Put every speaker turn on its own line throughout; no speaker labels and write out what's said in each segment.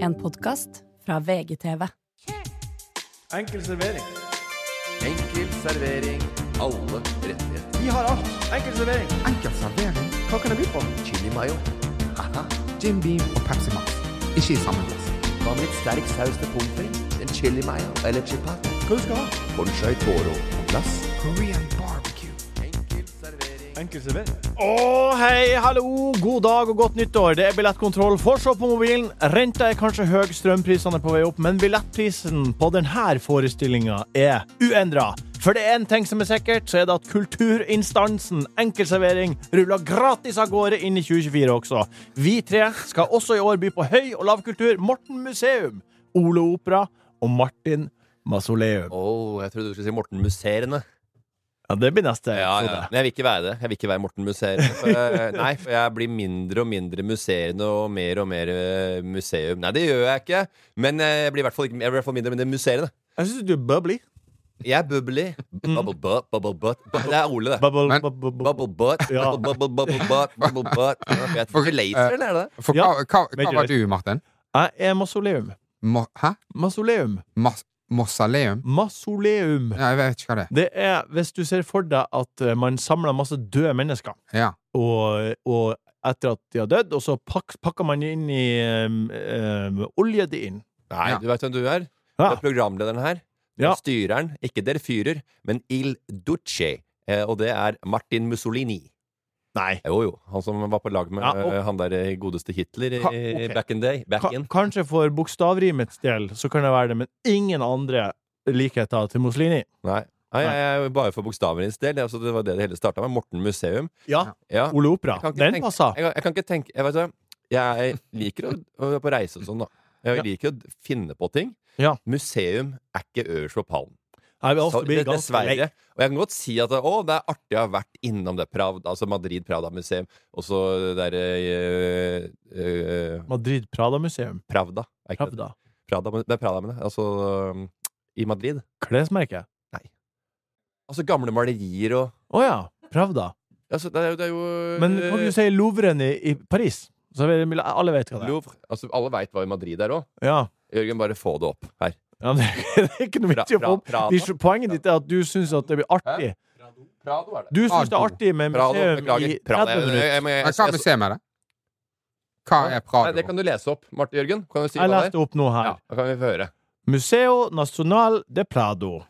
En podkast fra VGTV.
Enkel servering.
Enkel servering. Alle rettigheter.
Vi har alt. Enkel servering.
Enkel servering,
Hva kan jeg by på?
Chili mayo. Haha.
Jim Beam og Pepsi Max. Ikke i samme glass.
Hva med litt sterk saus til pommes frites? En chili mayo eller chipat?
Hva du skal ha?
Bonchai toro på glass.
Korean barbecue.
Enkel servering.
Enkel servering. Å, hei, hallo, god dag og godt nyttår. Det er billettkontroll. Fortsatt på mobilen. Renta er kanskje høy, strømprisene er på vei opp, men billettprisen på denne forestillinga er uendra. For det er en ting som er sikkert, så er det at kulturinstansen Enkelservering ruller gratis av gårde inn i 2024 også. Vi tre skal også i år by på høy- og lavkultur. Morten Museum, Ole Opera og Martin Masoleum.
Å, jeg trodde du skulle si Morten Musserende.
Ja, det blir neste
Ja, ja.
episode.
Men jeg vil ikke være det. Jeg vil ikke være Morten Musserende. For, jeg- nei, for jeg blir mindre og mindre musserende og mer og mer eh, museum. Nei, det gjør jeg ikke. Men eh, jeg blir i hvert fall, ikke, jeg blir i hvert fall mindre og mindre musserende.
Jeg syns du er bubbly.
Jeg er bubbly. Bubble butt, bubble butt. Det er Ole, det.
Bubble,
Men-
bubble, bubble.
Mm. Bubble butt,
Ja.
bubble, bubble, bubble butt, bubble butt. Jeg tror ikke laser, eller er det det?
For
Ja,
hva, hva, hva
veldig
var du, Martin?
Jeg er mausoleum.
Mo, hæ?
Mausoleum.
Mas, mausoleum?
Mausoleum.
Ja, jeg vet ikke hva det er.
Det er hvis du ser for deg at eh, man samler masse døde mennesker,
Ja.
og, og etter at de har dødd, og så pak, pakker man inn i um, um, olje det inn.
Nei,
Ja.
du veit hvem du er. Det
Ja.
er programlederen her. Det er
Ja.
Styreren. Ikke der fyrer, men Il Duce. Eh, og det er Martin Mussolini.
Nei.
Jo, jo. Han som var på lag med
Ja, og-
eh, han der eh, godeste Hitler i,
Ka- ok.
back in day. Back
Ka
in.
kanskje for bokstavrimets del så kan det være det, men ingen andre likheter til Mussolini.
Nei. Nei, jeg, jeg, bare for bokstavenes del. Det, er altså, det var det det hele starta med. Morten Museum.
Ja.
Ja.
Ole Opera.
Jeg kan ikke
Den
tenke-
passa.
Jeg, jeg kan ikke tenke Jeg, vet hva, jeg liker å, å være på reise og sånn, da. Jeg
Ja.
liker å finne på ting.
Ja.
Museum er ikke øverst på pallen.
Jeg vil også
Så,
bli
det-
ganske lei.
dessverre. Og jeg kan godt si at å, det er artig å ha vært innom det Pravda, altså Madrid Pravda museum, og så det derre eh, eh,
Madrid Prada-museum.
Pravda. Er ikke
Pravda.
Det, Pravda, men- det er Pravda, mener jeg. Altså um, i Madrid.
Klesmerke.
Altså gamle malerier og
Å ja. Pravda.
altså, det, er jo, det er jo eh,
Men kan du si Louvren i, i Paris? Så vil, alle vet hva det er.
Louvre. Altså, alle veit hva i Madrid er òg.
Ja.
Jørgen, bare få det opp her.
ja men det, er ikke noe
Pra-
vits i å få
pra- Prada.
De- Poenget ditt er at du syns at det blir artig.
Prado er det.
Du syns det er
Prado.
artig med
Prado,
museum
beklager.
i
Prado,
30
jeg- jeg-
minutter.
jeg- jeg- jeg-
Men hva
jeg-
museum er det? Hva er
Altså, Nei, det
Prado?
kan du lese opp, Marte Jørgen. Kan du si
Jeg
hva det er?
leste opp noe
Ja,
her.
da kan vi få høre.
Museo Nacional de Prado.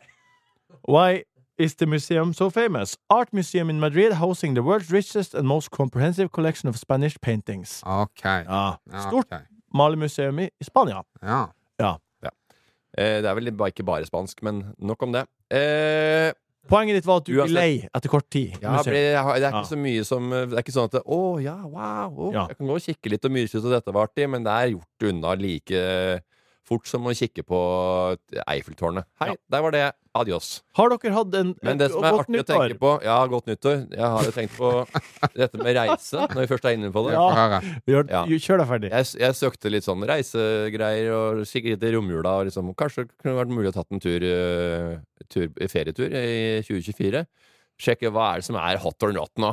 Why is the museum so famous? Art museum in Madrid housing the world's richest and most comprehensive collection of Spanish paintings.
Ok.
Ja.
Ja,
Stort
ok.
malemuseum i i Spania.
Ja.
Eh, det er vel ba- ikke bare spansk, men nok om det. Eh,
Poenget ditt var at du blir
Uansett-
lei etter kort tid.
ja,
museum.
ble, jeg har- det er
Ja.
ikke så mye som Det er ikke sånn at det- Å ja, wow. å,
Ja.
Jeg kan gå og kikke litt og mye synes at dette var artig, men det er gjort unna like fort som å kikke på Eiffeltårnet. Hei,
Ja.
der var det. Adios.
Har dere hatt en
Men det
et
som er
godt
artig å
nyttår?
tenke på Ja, godt nyttår. Jeg har jo tenkt på dette med reise, når vi først er inne på det.
Ja.
Få høre.
Gjør,
Ja.
Kjør deg ferdig.
Jeg, jeg søkte litt sånn reisegreier og sikkert til romjula. Og liksom, kanskje det kunne vært mulig å tatt en tur, eh, tur ferietur i 2024. Sjekke hva er det som er hot or not nå.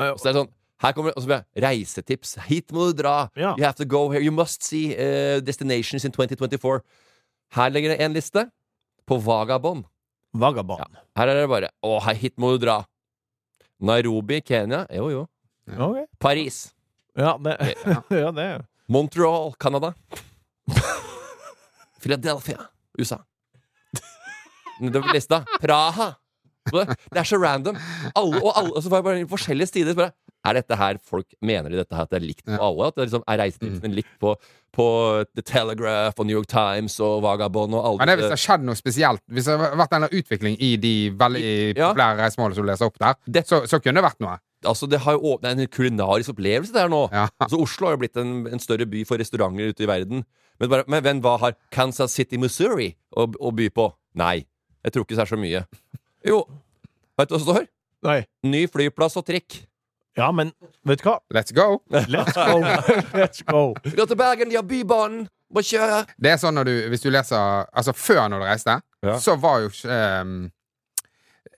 Og Så er det sånn, her kommer og så blir det reisetips. Hit må du dra!
Ja.
You have to go here. You must see eh, destinations in 2024. Her ligger det en liste på Vagabond.
Vagabond.
Her er det bare Å, her- hit må du dra! Nairobi, Kenya. Jo, jo.
Ja, ok.
Paris.
ja, det, ja, det er jo
Montreal, Canada. Philadelphia, USA. Nedover lista. Praha. Det er så random. Alle, og alle, og så var det bare forskjellige stider. Bare, er dette her folk Mener de dette her at det er likt på
Ja. Mm.
alle? At det liksom er reisetipsene likt på, på The Telegraph og New York Times og Vagabond og alle
Men det er hvis det har skjedd noe spesielt, hvis det har vært en eller annen utvikling i de veldig
Ja.
populære reisemålene som du leser opp der,
Det-
så, så kunne det vært noe.
Altså, det har jo åpnet en kulinarisk opplevelse der nå.
Ja.
Altså, Oslo har jo blitt en, en større by for restauranter ute i verden. Men, bare, men, men hva har Kansas City, Missouri å, å by på? Nei. Jeg tror ikke det er så mye. Jo, vet du hva som står?
Nei.
Ny flyplass og trikk.
Ja, men vet du hva?
Let's go!
Let's go. Let's go.
Dra til Bergen, de har Bybanen! Må kjøre!
Det er sånn når du, hvis du leser Altså før når du reiste,
Ja.
så var jo ikke, ehm,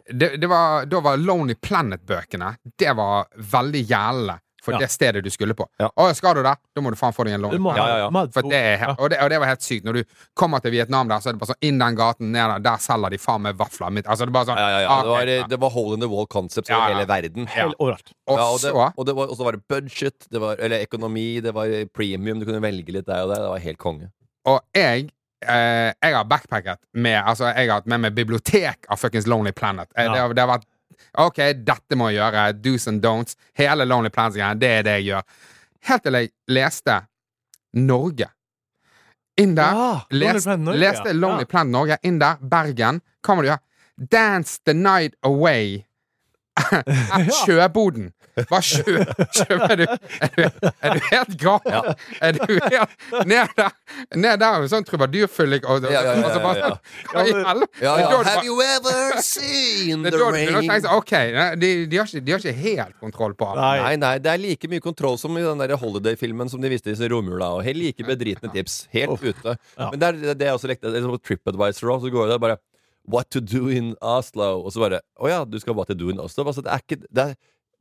det, det var, Da var Lonely Planet-bøkene Det var veldig gjelende for
Ja.
det stedet du skulle på.
Ja.
Å, skal du det? Da må du faen få deg en
Du
lån.
må
Ja, ja,
ha
ja.
mad
For det er,
Ja.
og, det, og det var helt sykt. Når du kommer til Vietnam, der, så er det bare sånn inn den gaten, ned der, der selger de faen meg vafler. Mitt. Altså, det er bare sånn
Ja, ja, ja.
ah,
Det var,
ok, ja.
det var hole in the wall concepts
Ja,
over
ja.
hele verden.
Hell Overalt.
Og
Ja, og, det,
så
og, det var, og så var det budget, det var, eller økonomi, det var premium, du kunne velge litt der og der. Det var helt konge.
Og jeg eh, Jeg har backpacket med Altså, jeg har hatt med meg bibliotek av fuckings Lonely Planet.
Ja.
Eh, det, har, det har vært OK, dette må jeg gjøre. Do's and don'ts. Hele Lonely Planet-greia. Det er det jeg gjør. Helt til jeg leste Norge. Inn der.
Ja, Lonely
les,
Planet Norge,
leste
ja.
Lonely
Ja.
Planet Norge. Inn der. Bergen. Hva må du gjøre? Dance the night away. At Sjøboden. Hva sjø... sjø er, du, er, du, er du helt gal?
Ja.
Er du helt Ned der, ned der er jo sånn trubadurfyllik og, og,
Ja, ja, ja,
og så bare
ja, ja.
sånn, Hva i helvete?
Ja,
Det er
ja.
da du
Have
bare-
you ever seen
det
the
er da du begynner å
rain?
tenke sånn, OK, ne, de, de, har ikke, de har ikke helt kontroll på alt.
Nei.
Nei, nei, det er like mye kontroll som i den der Holiday-filmen som de viste i sin romjula. Og helt like bedritne tips. Helt ute.
Ja.
Men det er det er jeg også lekte. Det er som på TripAdvisor også, så går jeg der bare What to do in Oslo? Og så bare Å ja, du skal what to do in Oslo? Altså, det er ikke Det er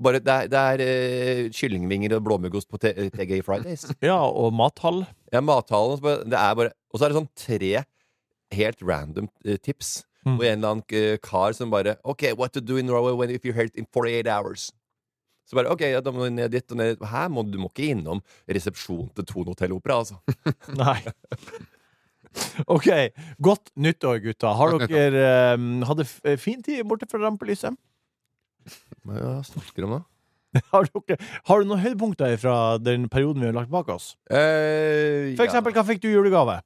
bare Det er, det er eh, kyllingvinger og blåmuggost på T- eh, TGI Fridays.
Ja, og mathall.
Ja, mathallen. så bare- Det er bare Og så er det sånn tre helt random eh, tips.
Mm.
Og en eller annen eh, kar som bare OK, what to do in Norway when, if you're held in 48 hours? Så bare OK, ja, da må du ned dit og ned dit. Her må du må ikke innom resepsjonen til Thon Hotell Opera, altså.
Nei. OK. Godt nyttår, gutta. Har
Godt
dere eh, hatt det f- fin tid borte fra rampelyset?
Hva snakker du om, da?
Har, dere, har du noen høydepunkter fra den perioden vi har lagt bak oss? For eksempel, hva fikk du i julegave?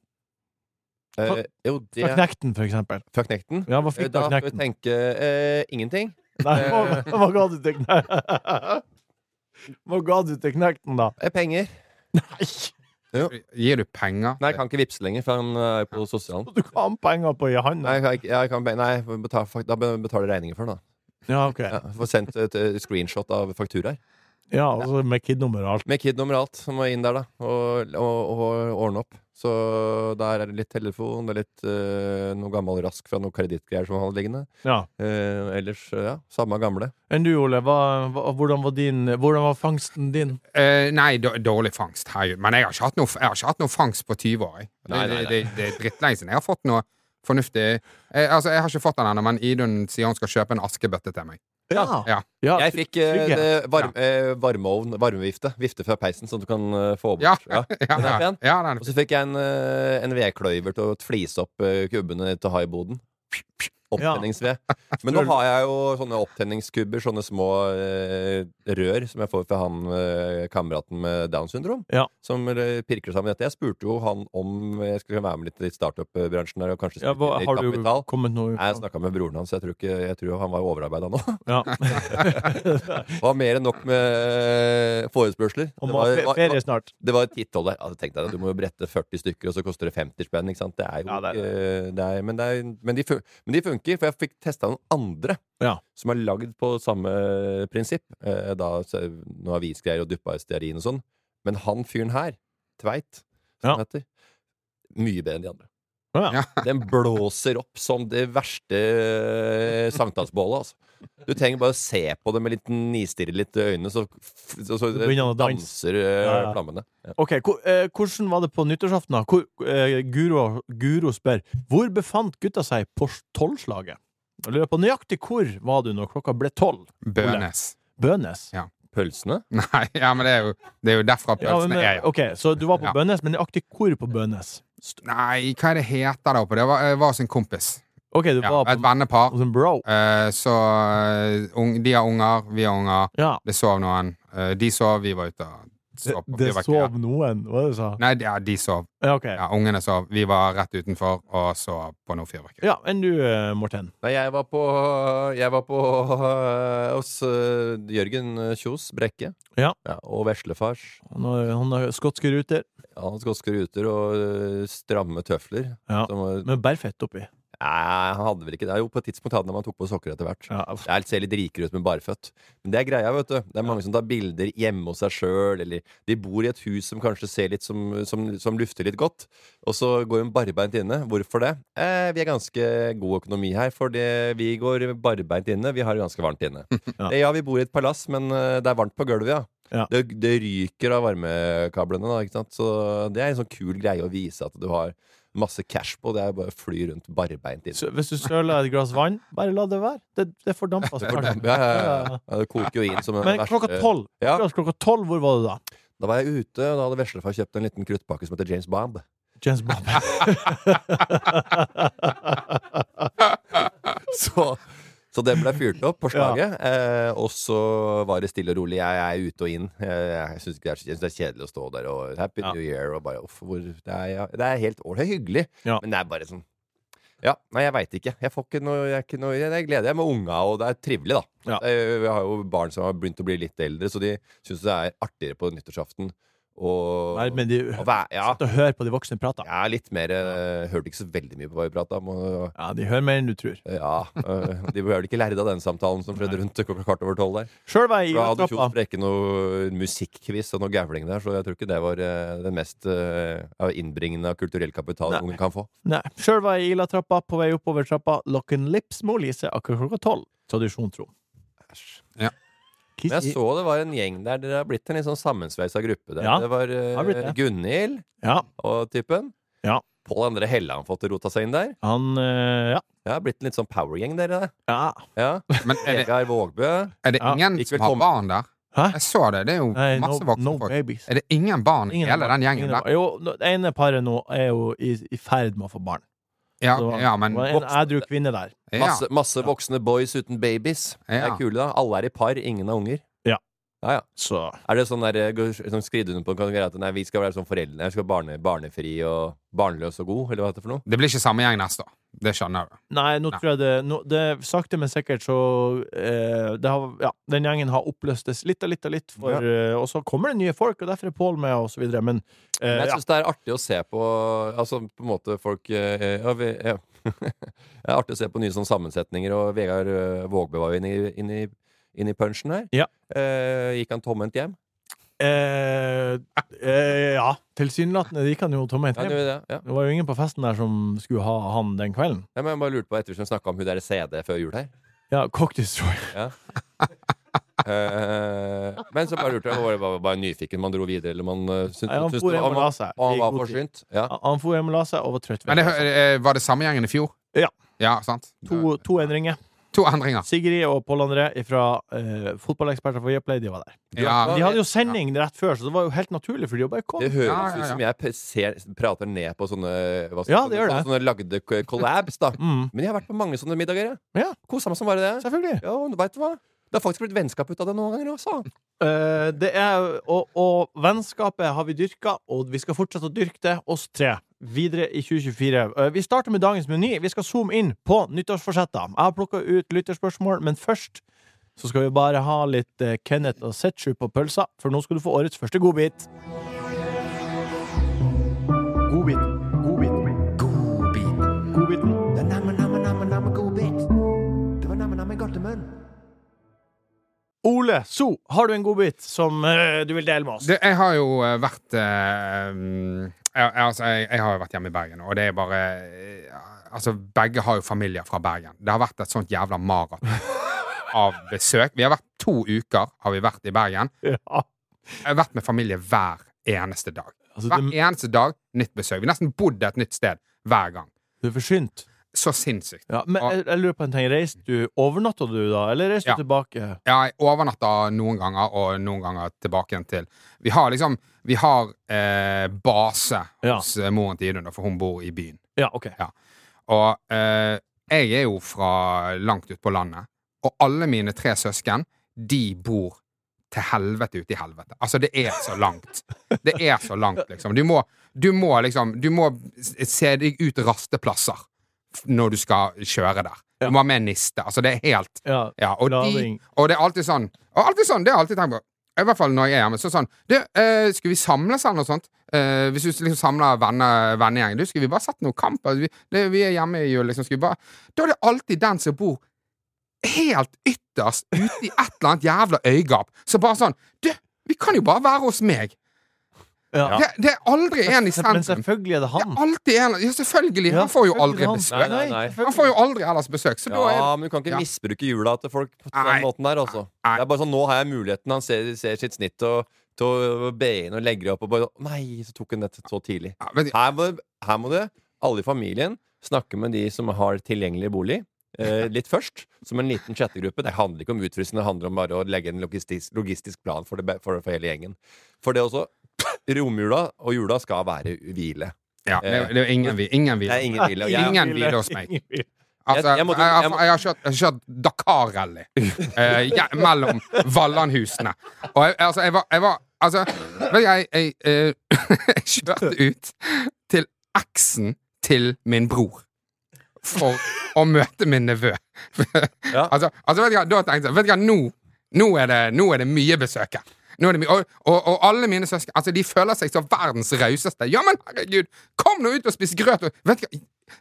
eh, Jo, det
Fra Knekten, for eksempel.
Fra Knekten?
Ja, hva
Eh,
fikk du
Da
av
skal vi
Knekten?
tenke eh, ingenting.
Nei,
Eh.
hva, hva ga du til Knekten? Hva ga du til Knekten, da?
Eh, penger.
Nei,
Gir du penger?
Nei, jeg kan ikke vippse lenger, for han eh, er på sosialen.
du ga ham penger på i handa.
Nei, jeg kan, ikke- jeg kan, nei betal, fakt- da betaler jeg regninger for den, da.
Ja, ok.
Ja, Få sendt et eh, screenshot av fakturaer.
Ja, og så med kidnummer og alt.
Med kid nummer alt som var inn der, da. Og, og, og ordne opp. Så der er det litt telefon, det er litt eh, noe gammel rask fra noe kredittgreier som han hadde liggende.
Ja.
Eh, ellers, eh, ja, samme gamle.
Enn du, Ole, hva, hva, hvordan, var din, hvordan var fangsten din?
Eh, nei, då- dårlig fangst. Herregud. Men jeg har ikke hatt noe, jeg har ikke hatt noe fangst på 20 år. Jeg. Det,
Nei, nei, nei.
det, det, det er drittlenge siden. Jeg har fått noe fornuftig eh, Altså, Jeg har ikke fått den ennå, men Idun sier hun skal kjøpe en askebøtte til meg.
Ja.
Ja.
Ja,
Jeg fikk eh,
trygghet.
det varm, eh, varmeovn, varmevifte. Vifte fra peisen, sånn at du kan eh, få bort.
Ja,
Ja.
ja,
Den er
ja,
pen. Og så fikk jeg en, eh, en vedkløyver til å flise opp eh, kubbene til haiboden. Opptenningsved. Men nå har jeg jo sånne opptenningskubber, sånne små eh, rør, som jeg får fra han eh, kameraten med Downs syndrom,
Ja.
som eh, pirker sammen dette. Jeg spurte jo han om jeg skulle være med litt i startup-bransjen der, og kanskje
Ja, hva,
spytte
har
litt
du
kapital.
kommet noe
Nei, Jeg snakka med broren hans, så jeg tror, ikke, jeg tror han var overarbeida nå.
Ja.
Det var mer enn nok med eh, forespørsler.
Om
Det
å
var-
ha fe-
var-
ferie snart.
det var et tittall der. Altså, tenkte jeg, du må jo brette 40 stykker, og så koster det 50 spenn. Ikke sant? Det er jo
Ja, det er
ikke det er, men, det er, men, de fun men de funker, for jeg fikk testa noen andre
Ja.
som er lagd på samme prinsipp. Eh, da, så, noe avisgreier og duppa i stearin og sånn. Men han fyren her, Tveit, som
Ja.
han heter, mye bedre enn de andre.
Å,
ja.
Den blåser opp som det verste eh, sankthansbålet, altså. Du trenger bare å se på det med litt nistirre litt i øynene, så, så, så
Så begynner han å danse.
danser eh,
Ja, ja.
flammene. Ja.
Ok, hvor- eh, Hvordan var det på nyttårsaften? da? Hvor, eh, Guro, Guro spør hvor befant gutta seg på tolvslaget. Jeg lurer på nøyaktig hvor var du når klokka ble tolv?
Bønes.
Bønes?
Pølsene?
Nei, ja, men det er jo, det er jo derfra
Ja, men, eh,
pølsene er. jo.
ok, Så du var på
Ja.
Bønes, men nøyaktig hvor på Bønes? St-
Nei, hva er det heter der oppe? Det var, eh, var hos en kompis.
Ok, du
Ja,
var
et
på
vennepar.
hos en bro.
Eh, så eh, ung- de har unger, vi har unger.
Ja.
Det sov noen. Eh, de sov, vi var ute og
Det,
så på
det
fyrverkeri.
sov noen, hva var det du sa?
Nei, de- ja, de sov.
Ja, ok.
Ja, ungene sov. Vi var rett utenfor og så på noe fyrverkeri.
Ja, enn du, eh, Morten?
Nei, jeg var på, jeg var på øh, hos øh, Jørgen Kjos Brekke.
Ja.
og veslefars.
Han har- han har skotske ruter
Han hadde skotske ruter og øh, stramme tøfler.
Ja.
Som, var-
med bærfett oppi.
nei, han hadde vel ikke det. Jo, på et tidspunkt hadde han men han tok på sokker etter hvert.
Ja,
Det er- ser litt rikere ut med barføtt. Men det er greia, vet du. Det er mange som tar bilder hjemme hos seg sjøl, eller de bor i et hus som kanskje ser litt som, som, som lufter litt godt, og så går hun barbeint inne. Hvorfor det? Eh, vi er ganske god økonomi her, for det, vi går barbeint inne. Vi har det ganske varmt inne.
Ja.
Eh, Ja, vi bor i et palass, men eh, det er varmt på gulvet, ja.
Ja.
Det, det ryker av varmekablene, da, ikke sant? så det er en sånn kul greie å vise at du har masse cash på. Det er bare å fly rundt barbeint inn.
Så Hvis du søler et glass vann, bare la det være. Det, det fordamper seg
Ja,
kanskje.
ja, ja. ja, det koker jo inn som en
Men
verste-
klokka tolv,
Ja.
akkurat klokka tolv, hvor var du da?
Da var jeg ute, og da hadde veslefar kjøpt en liten kruttpakke som heter James Bond.
James Bond.
Så, så det ble fyrt opp på slaget. Eh, og så var det stille og rolig. Jeg er ute og inn. Jeg, jeg syns det, er- jeg synes det er kjedelig å stå der og Happy
Ja.
New Year og bare uff, hvor, det, er, ja, det er helt ålreit hyggelig,
Ja.
men det er bare sånn ja, Nei, jeg veit ikke. Jeg får ikke noe, jeg er ikke noe Jeg gleder meg med unga, og det er trivelig, da.
Ja.
Eh, Vi har jo barn som har begynt å bli litt eldre, så de syns det er artigere på nyttårsaften. Og,
Nei, men de
å være- ja,
sitter og hører på de voksne prate.
ja, litt mer eh, Hørte ikke så veldig mye på hva vi prata om. Og,
Ja, de hører mer enn du tror.
ja, øh, De ble vel ikke lærde av den samtalen som skjedde rundt klokka kvart over tolv der.
Sjøl var jeg i
For Da hadde
trappa.
Kjos Brekke noe musikkquiz og noe gævling der, så jeg tror ikke det var øh, den mest øh, innbringende av kulturell kapital
Nei.
ungen kan få.
Nei, Sjøl var jeg i Ila-trappa, på vei oppover trappa. Lock and lips må lise akkurat klokka tolv. Tradisjon tro.
Ja.
Kiss
Men jeg
i-
så det var en gjeng der. Dere har blitt en litt sånn sammensveisa gruppe der.
Ja,
Det var
har blitt
øh,
det.
Gunhild
Ja,
og typen.
Ja.
Pål André Helland fått rota seg inn der.
han eh, Ja.
Ja, Blitt en litt sånn powergjeng, dere der.
ja.
Ja.
Men er det,
Vegard Vågbø.
er det
Ja,
ingen
ikke
som har
velkommen.
barn der?
Hæ?
Jeg så det. Det er jo
Nei, no,
masse voksne
no
folk.
babies.
Er det ingen barn i
Ingen
hele
barn.
den gjengen
Ingen
der?
barn. Jo, nå- det ene paret nå er jo i, i ferd med å få barn.
Ja,
Det var-
ja men
Det var en
voksne-
ædru kvinne der.
ja.
Masse, masse voksne boys uten babies. Det
Ja.
er kule, da. Alle er i par, ingen har unger.
Ja.
Ja, ja.
Så
Er det sånn der eh, går- sånn skrider under på en greie at nei, vi skal være sånn foreldre, vi skal være barne, barnefri og barnløs og god, eller hva heter det for noe?
Det blir ikke samme gjeng neste år. Det skjønner du.
Nei, nå
Nei.
tror jeg det, nå, det Sakte, men sikkert så eh, det har, ja, Den gjengen har oppløstes litt og litt og litt, for,
Ja.
eh, og så kommer det nye folk, og derfor er Pål med, og så videre. Men
Men
eh,
jeg
ja.
syns det er artig å se på Altså på en måte folk eh, ja, vi, ja. Det er artig å se på nye sånne sammensetninger, og Vegard eh, Vågbø var jo inne i, inne i, inne i punchen her.
Ja.
Eh, gikk han tomhendt hjem?
Eh, eh, ja, tilsynelatende de kan jo tomme
Han
hjem.
gjorde det, ja.
Det var jo ingen på festen der som skulle ha han den kvelden.
Nei, men jeg bare lurte på etter vi snakka om hun der CD før jul her.
Ja, Cock Destroyer.
Eh, men så bare lurte jeg var det bare, bare nyfiken man dro videre, eller man eh, syntes
Nei, han
syntes
for
det
hjem
var,
og la
man,
seg.
og
i
han var
god tid.
forsynt. Ja.
Ja, Han for hjem og la seg og var trøtt.
Men det, eh, var det samme gjengen i fjor?
Ja.
Ja, sant?
To, to endringer.
To endringer.
Sigrid og Pål André fra eh, Fotballeksperter for Viaplay, de var der.
Ja,
De hadde jo sending rett før, så det var jo helt naturlig for de å bare
Det
komme.
høres
Ja, ja, ja.
ut som jeg p- ser, prater ned på sånne, eh, hva skal
Ja,
jeg
det
si,
gjør det.
sånne lagde k- collabs, da.
Mm,
Men jeg har vært på mange sånne middager, jeg.
Ja.
Kosa meg som bare det.
selvfølgelig.
Ja, og vet du hva? Det har faktisk blitt vennskap ut av det noen ganger også.
Eh, det er, og, og vennskapet har vi dyrka, og vi skal fortsette å dyrke det, oss tre. Videre i 2024. Eh, Vi starter med dagens meny. Vi skal zoome inn på nyttårsforsetter. Jeg har plukka ut lytterspørsmål, men først så skal vi bare ha litt eh, Kenneth og Setchu på pølsa, for nå skal du få årets første godbit. Godbit. Godbit. Godbiten. Ole So, har du en godbit som eh, du vil dele med oss?
Det, jeg har jo eh, vært eh, mm, jeg, jeg- altså, jeg, jeg har jo vært hjemme i Bergen, og det er bare eh, Altså, begge har jo familier fra Bergen. Det har vært et sånt jævla maraton av besøk. Vi har vært to uker har vi vært i Bergen.
Ja.
Jeg har vært med familie hver eneste dag.
Altså,
Hver
du,
eneste dag nytt besøk. Vi har nesten bodd et nytt sted hver gang.
du er forsynt.
Så sinnssykt.
Ja, men jeg, jeg lurer på en ting. Reiste du Overnatta du da, eller reiste
Ja.
du tilbake?
Ja, jeg overnatter noen ganger, og noen ganger tilbake igjen til Vi har liksom Vi har eh, base
Ja.
hos eh, moren til Idun, da, for hun bor i byen.
Ja, OK.
Og eh, jeg er jo fra langt ut på landet, og alle mine tre søsken, de bor til helvete ute i helvete. Altså, det er så langt. Det er så langt, liksom. Du må, du må liksom Du må se deg ut rasteplasser f- når du skal kjøre der.
Ja.
Du må ha med niste. Altså, det er helt
Ja.
ja, og, de,
Lading.
og det er alltid sånn. Og alltid sånn, Det har jeg alltid tenkt på. I hvert fall når jeg er hjemme. Så sånn du, eh, Skal vi samles eller noe sånt? Eh, hvis du liksom samler venne- vennegjengen Du, skulle vi bare sett noe kamp? Altså, vi, det, vi er hjemme i jul, liksom. Skal vi bare Da er det alltid den som bor helt ytterst ute i et eller annet jævla øygap, så bare sånn Du, vi kan jo bare være hos meg.
Ja.
Det, det er aldri en i
Men
sentrum.
selvfølgelig er det
Det er
han.
alltid en Ja, selvfølgelig! Han får jo aldri
Nei,
besøk.
nei, nei.
Han får jo aldri ellers besøk, så da er
Ja, men du kan ikke
Ja.
misbruke jula til folk på
Nei.
den måten der, altså.
Nei.
Det er bare sånn, nå har jeg muligheten. Han ser, ser sitt snitt til å- til å be inn og legge det opp og bare Nei, så tok hun dette så tidlig.
ja, vet du,
Her må, her må det, alle i familien, snakke med de som har tilgjengelig bolig. Eh, litt først, som en liten chattegruppe. Det handler ikke om utfrysning, det handler om bare å legge en logistisk, logistisk plan for, det, be- for, for hele gjengen. For det også Romjula og jula skal være hvile.
ja, det er- det er jo ingen vi Ingen vi
Det er ingen hvile. og jeg-
Ingen hvile hos meg.
Ingen hvile.
Altså,
Jeg-
jeg,
jeg måtte-
har-
jeg må-
jeg har kjørt, jeg har kjørt Dakar-rally eh, ja, mellom Vallandhusene. Og jeg, altså, jeg var, jeg var Altså, vet du, jeg, jeg, eh, jeg kjørte ut til eksen til min bror for å møte min nevø.
Ja.
altså, altså, vet du hva, da tenkte jeg Vet du hva, nå, nå, er, det, nå er det mye besøk her. Nå er det mye, og, og, og alle mine søsken altså, de føler seg som verdens rauseste. Ja, men herregud, kom nå ut og spis grøt! Og, vet du hva,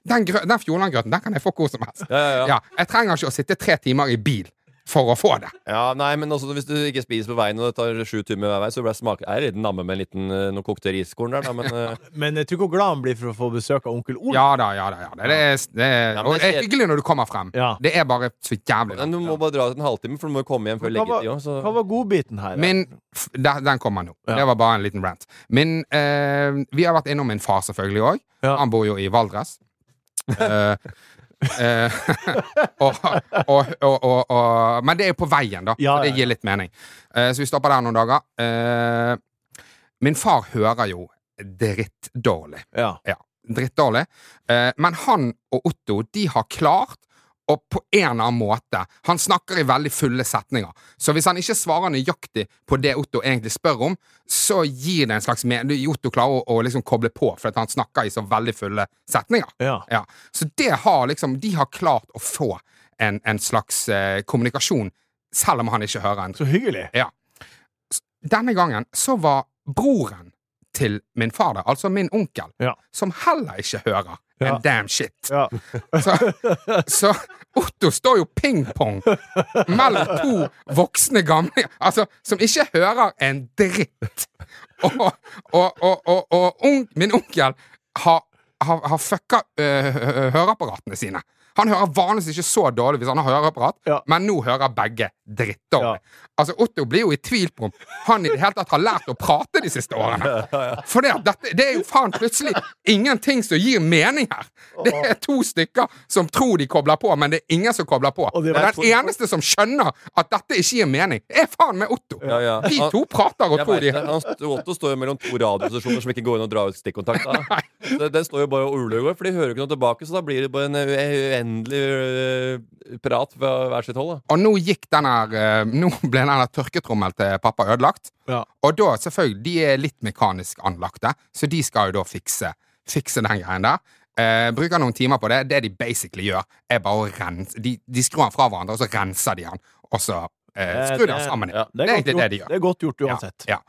den, grø- den Fjordland-grøten den kan jeg få hvor som helst.
Ja, ja, ja.
Ja, jeg trenger ikke å sitte tre timer i bil for å få det.
Ja, nei, men også hvis du ikke spiser på veien og det tar sju timer hver vei, så blir det smak... Jeg er litt namme med en liten eh, noen kokte riskorn der, da, men eh,
Men jeg tror hvor glad han blir for å få besøk av onkel Olav.
Ja da, ja da. ja da. Det er, det er,
Ja, men
og
det
det
er
er hyggelig når du kommer frem.
Ja.
Det er bare så jævlig.
men du må bare dra ut en halvtime, for du må jo komme hjem før
Hva var,
leggetid òg,
hva
så
var godbiten her? da?
Min, f- den den kommer nå. Det var bare en liten rant. Men eh, vi har vært innom min far selvfølgelig òg.
Ja.
Han bor jo i Valdres. Eh, eh, og, og, og, og, og, men det er jo på veien, da.
Ja,
så det
ja, ja.
gir litt mening. Eh, så vi stopper der noen dager. Eh, min far hører jo drittdårlig.
ja.
drittdårlig. Eh, men han og Otto de har klart å på en eller annen måte Han snakker i veldig fulle setninger. Så hvis han ikke svarer nøyaktig på det Otto egentlig spør om, så gir det en slags mer Otto klarer å, å liksom koble på, for at han snakker i så veldig fulle setninger.
ja.
Ja. Så det har liksom De har klart å få en, en slags eh, kommunikasjon, selv om han ikke hører en
Så hyggelig.
denne gangen så var broren til min far der, altså min onkel,
Ja.
som heller ikke hører
Ja.
en damn shit.
Ja.
Så, så Otto står jo ping-pong mellom to voksne gamle altså, som ikke hører en dritt. Og, og, og, og, og ung- min onkel har, har, har fucka øh, øh, høreapparatene sine. Han hører vanligvis ikke så dårlig hvis han har høreapparat,
Ja.
men nå hører begge drittdårlig. Altså, Otto blir jo i tvil på om han i det hele tatt har lært å prate de siste årene. For det, dette, det er jo faen plutselig ingenting som gir mening her. Det er to stykker som tror de kobler på, men det er ingen som kobler på.
Og det var-
den eneste som skjønner at dette ikke gir mening, er faen meg Otto.
Ja, ja.
De
Han-
to prater og
jeg
tror
vet
de
det. Han st- Otto står jo mellom to radiostasjoner som ikke går inn og drar ut stikkontakt. Da. Så Den står jo bare og uler og går, for de hører jo ikke noe tilbake, så da blir det bare en eh, uendelig eh, prat fra hver sitt hold. Da.
Og nå gikk den her eh, Nå ble den her tørketrommel til pappa ødelagt.
Ja.
Og da, selvfølgelig, de er litt mekanisk anlagte, så de skal jo da fikse, fikse den greien der. Eh, bruker noen timer på det. Det de basically gjør, er bare å rense De, de skrur den fra hverandre, og så renser de den, og så eh, skrur de den sammen igjen.
Ja, det, er
egentlig
godt
det
gjort.
de gjør.
Det er godt gjort uansett.
Ja.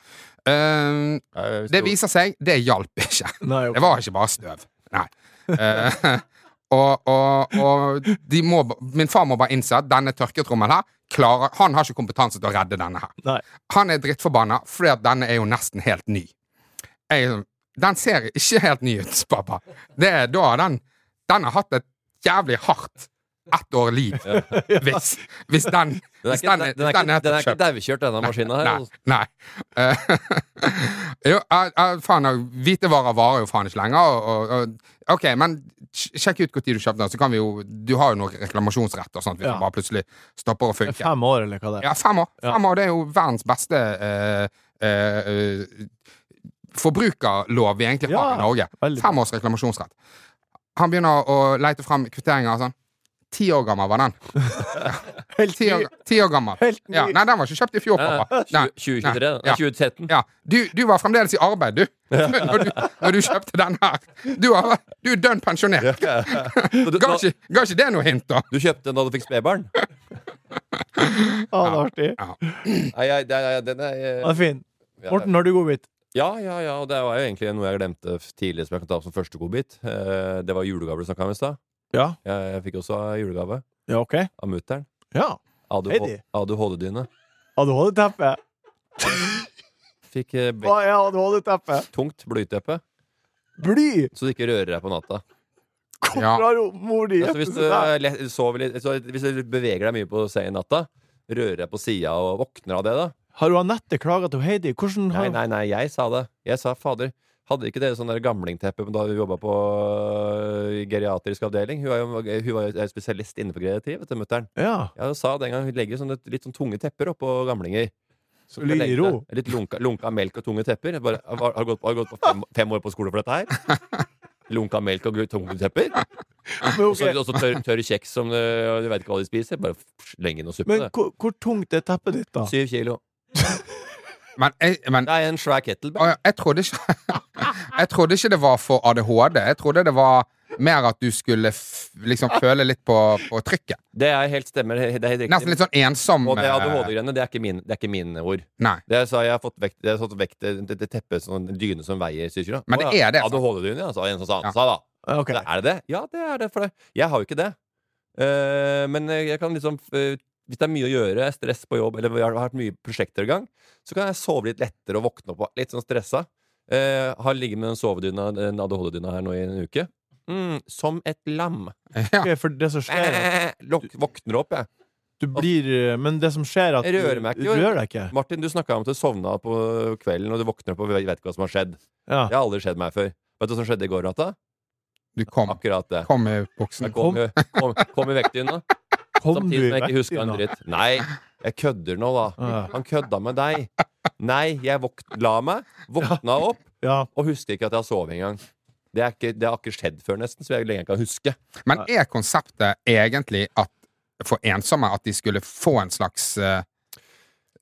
Eh,
Eh, hvis
det
du-
viser seg, det hjalp ikke.
Nei, ok.
Det var ikke bare støv. Nei. Eh, og og, og de må, ba- min far må bare innse at denne tørketrommelen her klarer, Han har ikke kompetanse til å redde denne her.
Nei.
Han er drittforbanna fordi at denne er jo nesten helt ny. Jeg, er sånn, den ser ikke helt ny ut, pappa. Det er da den Den har hatt et jævlig hardt ett år liv. Hvis, hvis den
Den er
hvis
ikke, den,
den er-
den er
hvis den
ikke, den
er
er ikke
kjøpt.
daukjørt, denne maskinen her.
Nei.
altså.
nei. Eh, jo, eh, eh, faen, eh, hvitevarer varer jo faen ikke lenger. Og, og, og, ok, men sj- sjekk ut når du kjøpte den, så kan vi jo Du har jo noe reklamasjonsrett og sånt hvis
Ja.
den bare plutselig stopper
Det
å
er
funke.
Fem år, eller hva det er.
Ja, fem år.
Ja.
Fem år, Det er jo verdens beste eh, eh, eh, forbrukerlov vi egentlig
Ja,
har i Norge.
veldig
Fem års reklamasjonsrett. Han begynner å lete frem kvitteringer og sånn. Ti år gammel var den.
Helt
Ti
ny.
år, ti år gammel.
Helt ny.
Ja, nei, den var ikke kjøpt i fjor, pappa. Nei.
2023?
Nei.
Nei, 2013?
Ja, du, du var fremdeles i arbeid, du. Når du, når du kjøpte den her. Du, har, du er dønn pensjonert.
Så du-
Ga
da-
ikke, ga ikke det noe hint, da?
Du kjøpte den da du fikk spedbarn?
Ja, Ah, det er artig.
Nei, jeg- det er- den er eh,
Ja, det er fin.
ja,
Morten, har du godbit?
Ja, ja, ja, og det var jo egentlig noe jeg glemte f- tidligere som jeg kan ta opp som første godbit. Eh, Det var julegaver du snakka om i stad.
Ja.
Jeg, jeg fikk også julegave
Ja, ok.
av mutter'n.
Ja. Hei, de.
ADHD-dyne.
ADHD-teppe.
Fikk eh, be-
Hva er ADHD-teppet?
tungt blyteppe,
Bly!
så du ikke rører deg på natta.
Hvorfor
Ja.
har hun- mor di
Altså, hvis, du
der?
eh, le- sover litt, så, hvis du beveger deg mye på sengen natta, rører deg på sida og våkner av det, da
Har hun Anette klaga til Heidi? Hvordan har
Nei, nei, nei, jeg sa det. Jeg sa fader. Hadde ikke dere sånn der gamlingteppe da vi jobba på øh, geriatrisk avdeling? Hun, er jo, hun var jo er spesialist inne på geriatri, vet du, mutter'n.
Ja.
Jeg sa den gang hun legger sånne, litt sånn tunge tepper oppå gamlinger. Så
Ligger i ro.
Litt lunka, lunka melk og tunge tepper. Jeg Bare, har, har gått, har gått på fem, fem år på skole for dette her. Lunka melk og tunge tepper.
Men,
Og så
ok,
også tørr tørr kjeks som øh, du veit ikke hva de spiser. Bare lenge inn og suppe
men
det.
hvor, hvor tungt er teppet ditt, da?
Syv kilo.
Men, jeg, men
Det er en svær kettlebell.
Å, ja, jeg, trodde ikke, jeg trodde ikke det var for ADHD. Jeg trodde det var mer at du skulle f liksom føle litt på, på trykket.
Det er helt stemmer. Det er helt riktig.
Nesten litt sånn ensom.
Og det
eh,
ADHD-greiene, det er ikke min- det er ikke mine ord.
Nei.
Det sa jeg har fått vekt, jeg har fått vekt det, det teppet sånn en dyne som veier 7 kilo.
Men det
Å ja,
er det, altså.
ADHD-dyne, ja, sa en som sa,
Ja.
sa da.
Ok.
Er det det? Ja, det er det. For det. jeg har jo ikke det. Eh, men jeg kan liksom eh, Hvis det er mye å gjøre, stress på jobb, eller jeg har hatt mye prosjekter i gang, så kan jeg sove litt lettere og våkne opp litt sånn stressa. Eh, har ligget med den sovedyna, den ADHD-dyna her nå i en uke. Mm, som et lam.
Ja.
Ok, For det som skjer er at
Eh, lok- Våkner opp, jeg.
Du blir eh, Men det som skjer, er at
Jeg
du
rører meg ikke,
du
jo.
rører deg ikke.
Martin, du snakka om at du sovna på kvelden, og du våkner opp og vet ikke hva som har skjedd.
Ja.
Det har aldri skjedd meg før. Vet du hva som skjedde i går, Rata?
Du kom.
Akkurat det.
Kom i
Jeg
buksen.
kom, kom, kom i vektdyna,
Kom du
samtidig som jeg ikke huska en
vekk,
dritt. Nei, jeg kødder nå, da.
Ja.
Han kødda med deg. Nei, jeg våk la meg, våkna opp,
Ja.
og husker ikke at jeg har sovet engang. Det, er ikke, det har ikke skjedd før, nesten, så jeg lenge kan huske.
Men er konseptet egentlig at for ensomme at de skulle få en slags eh,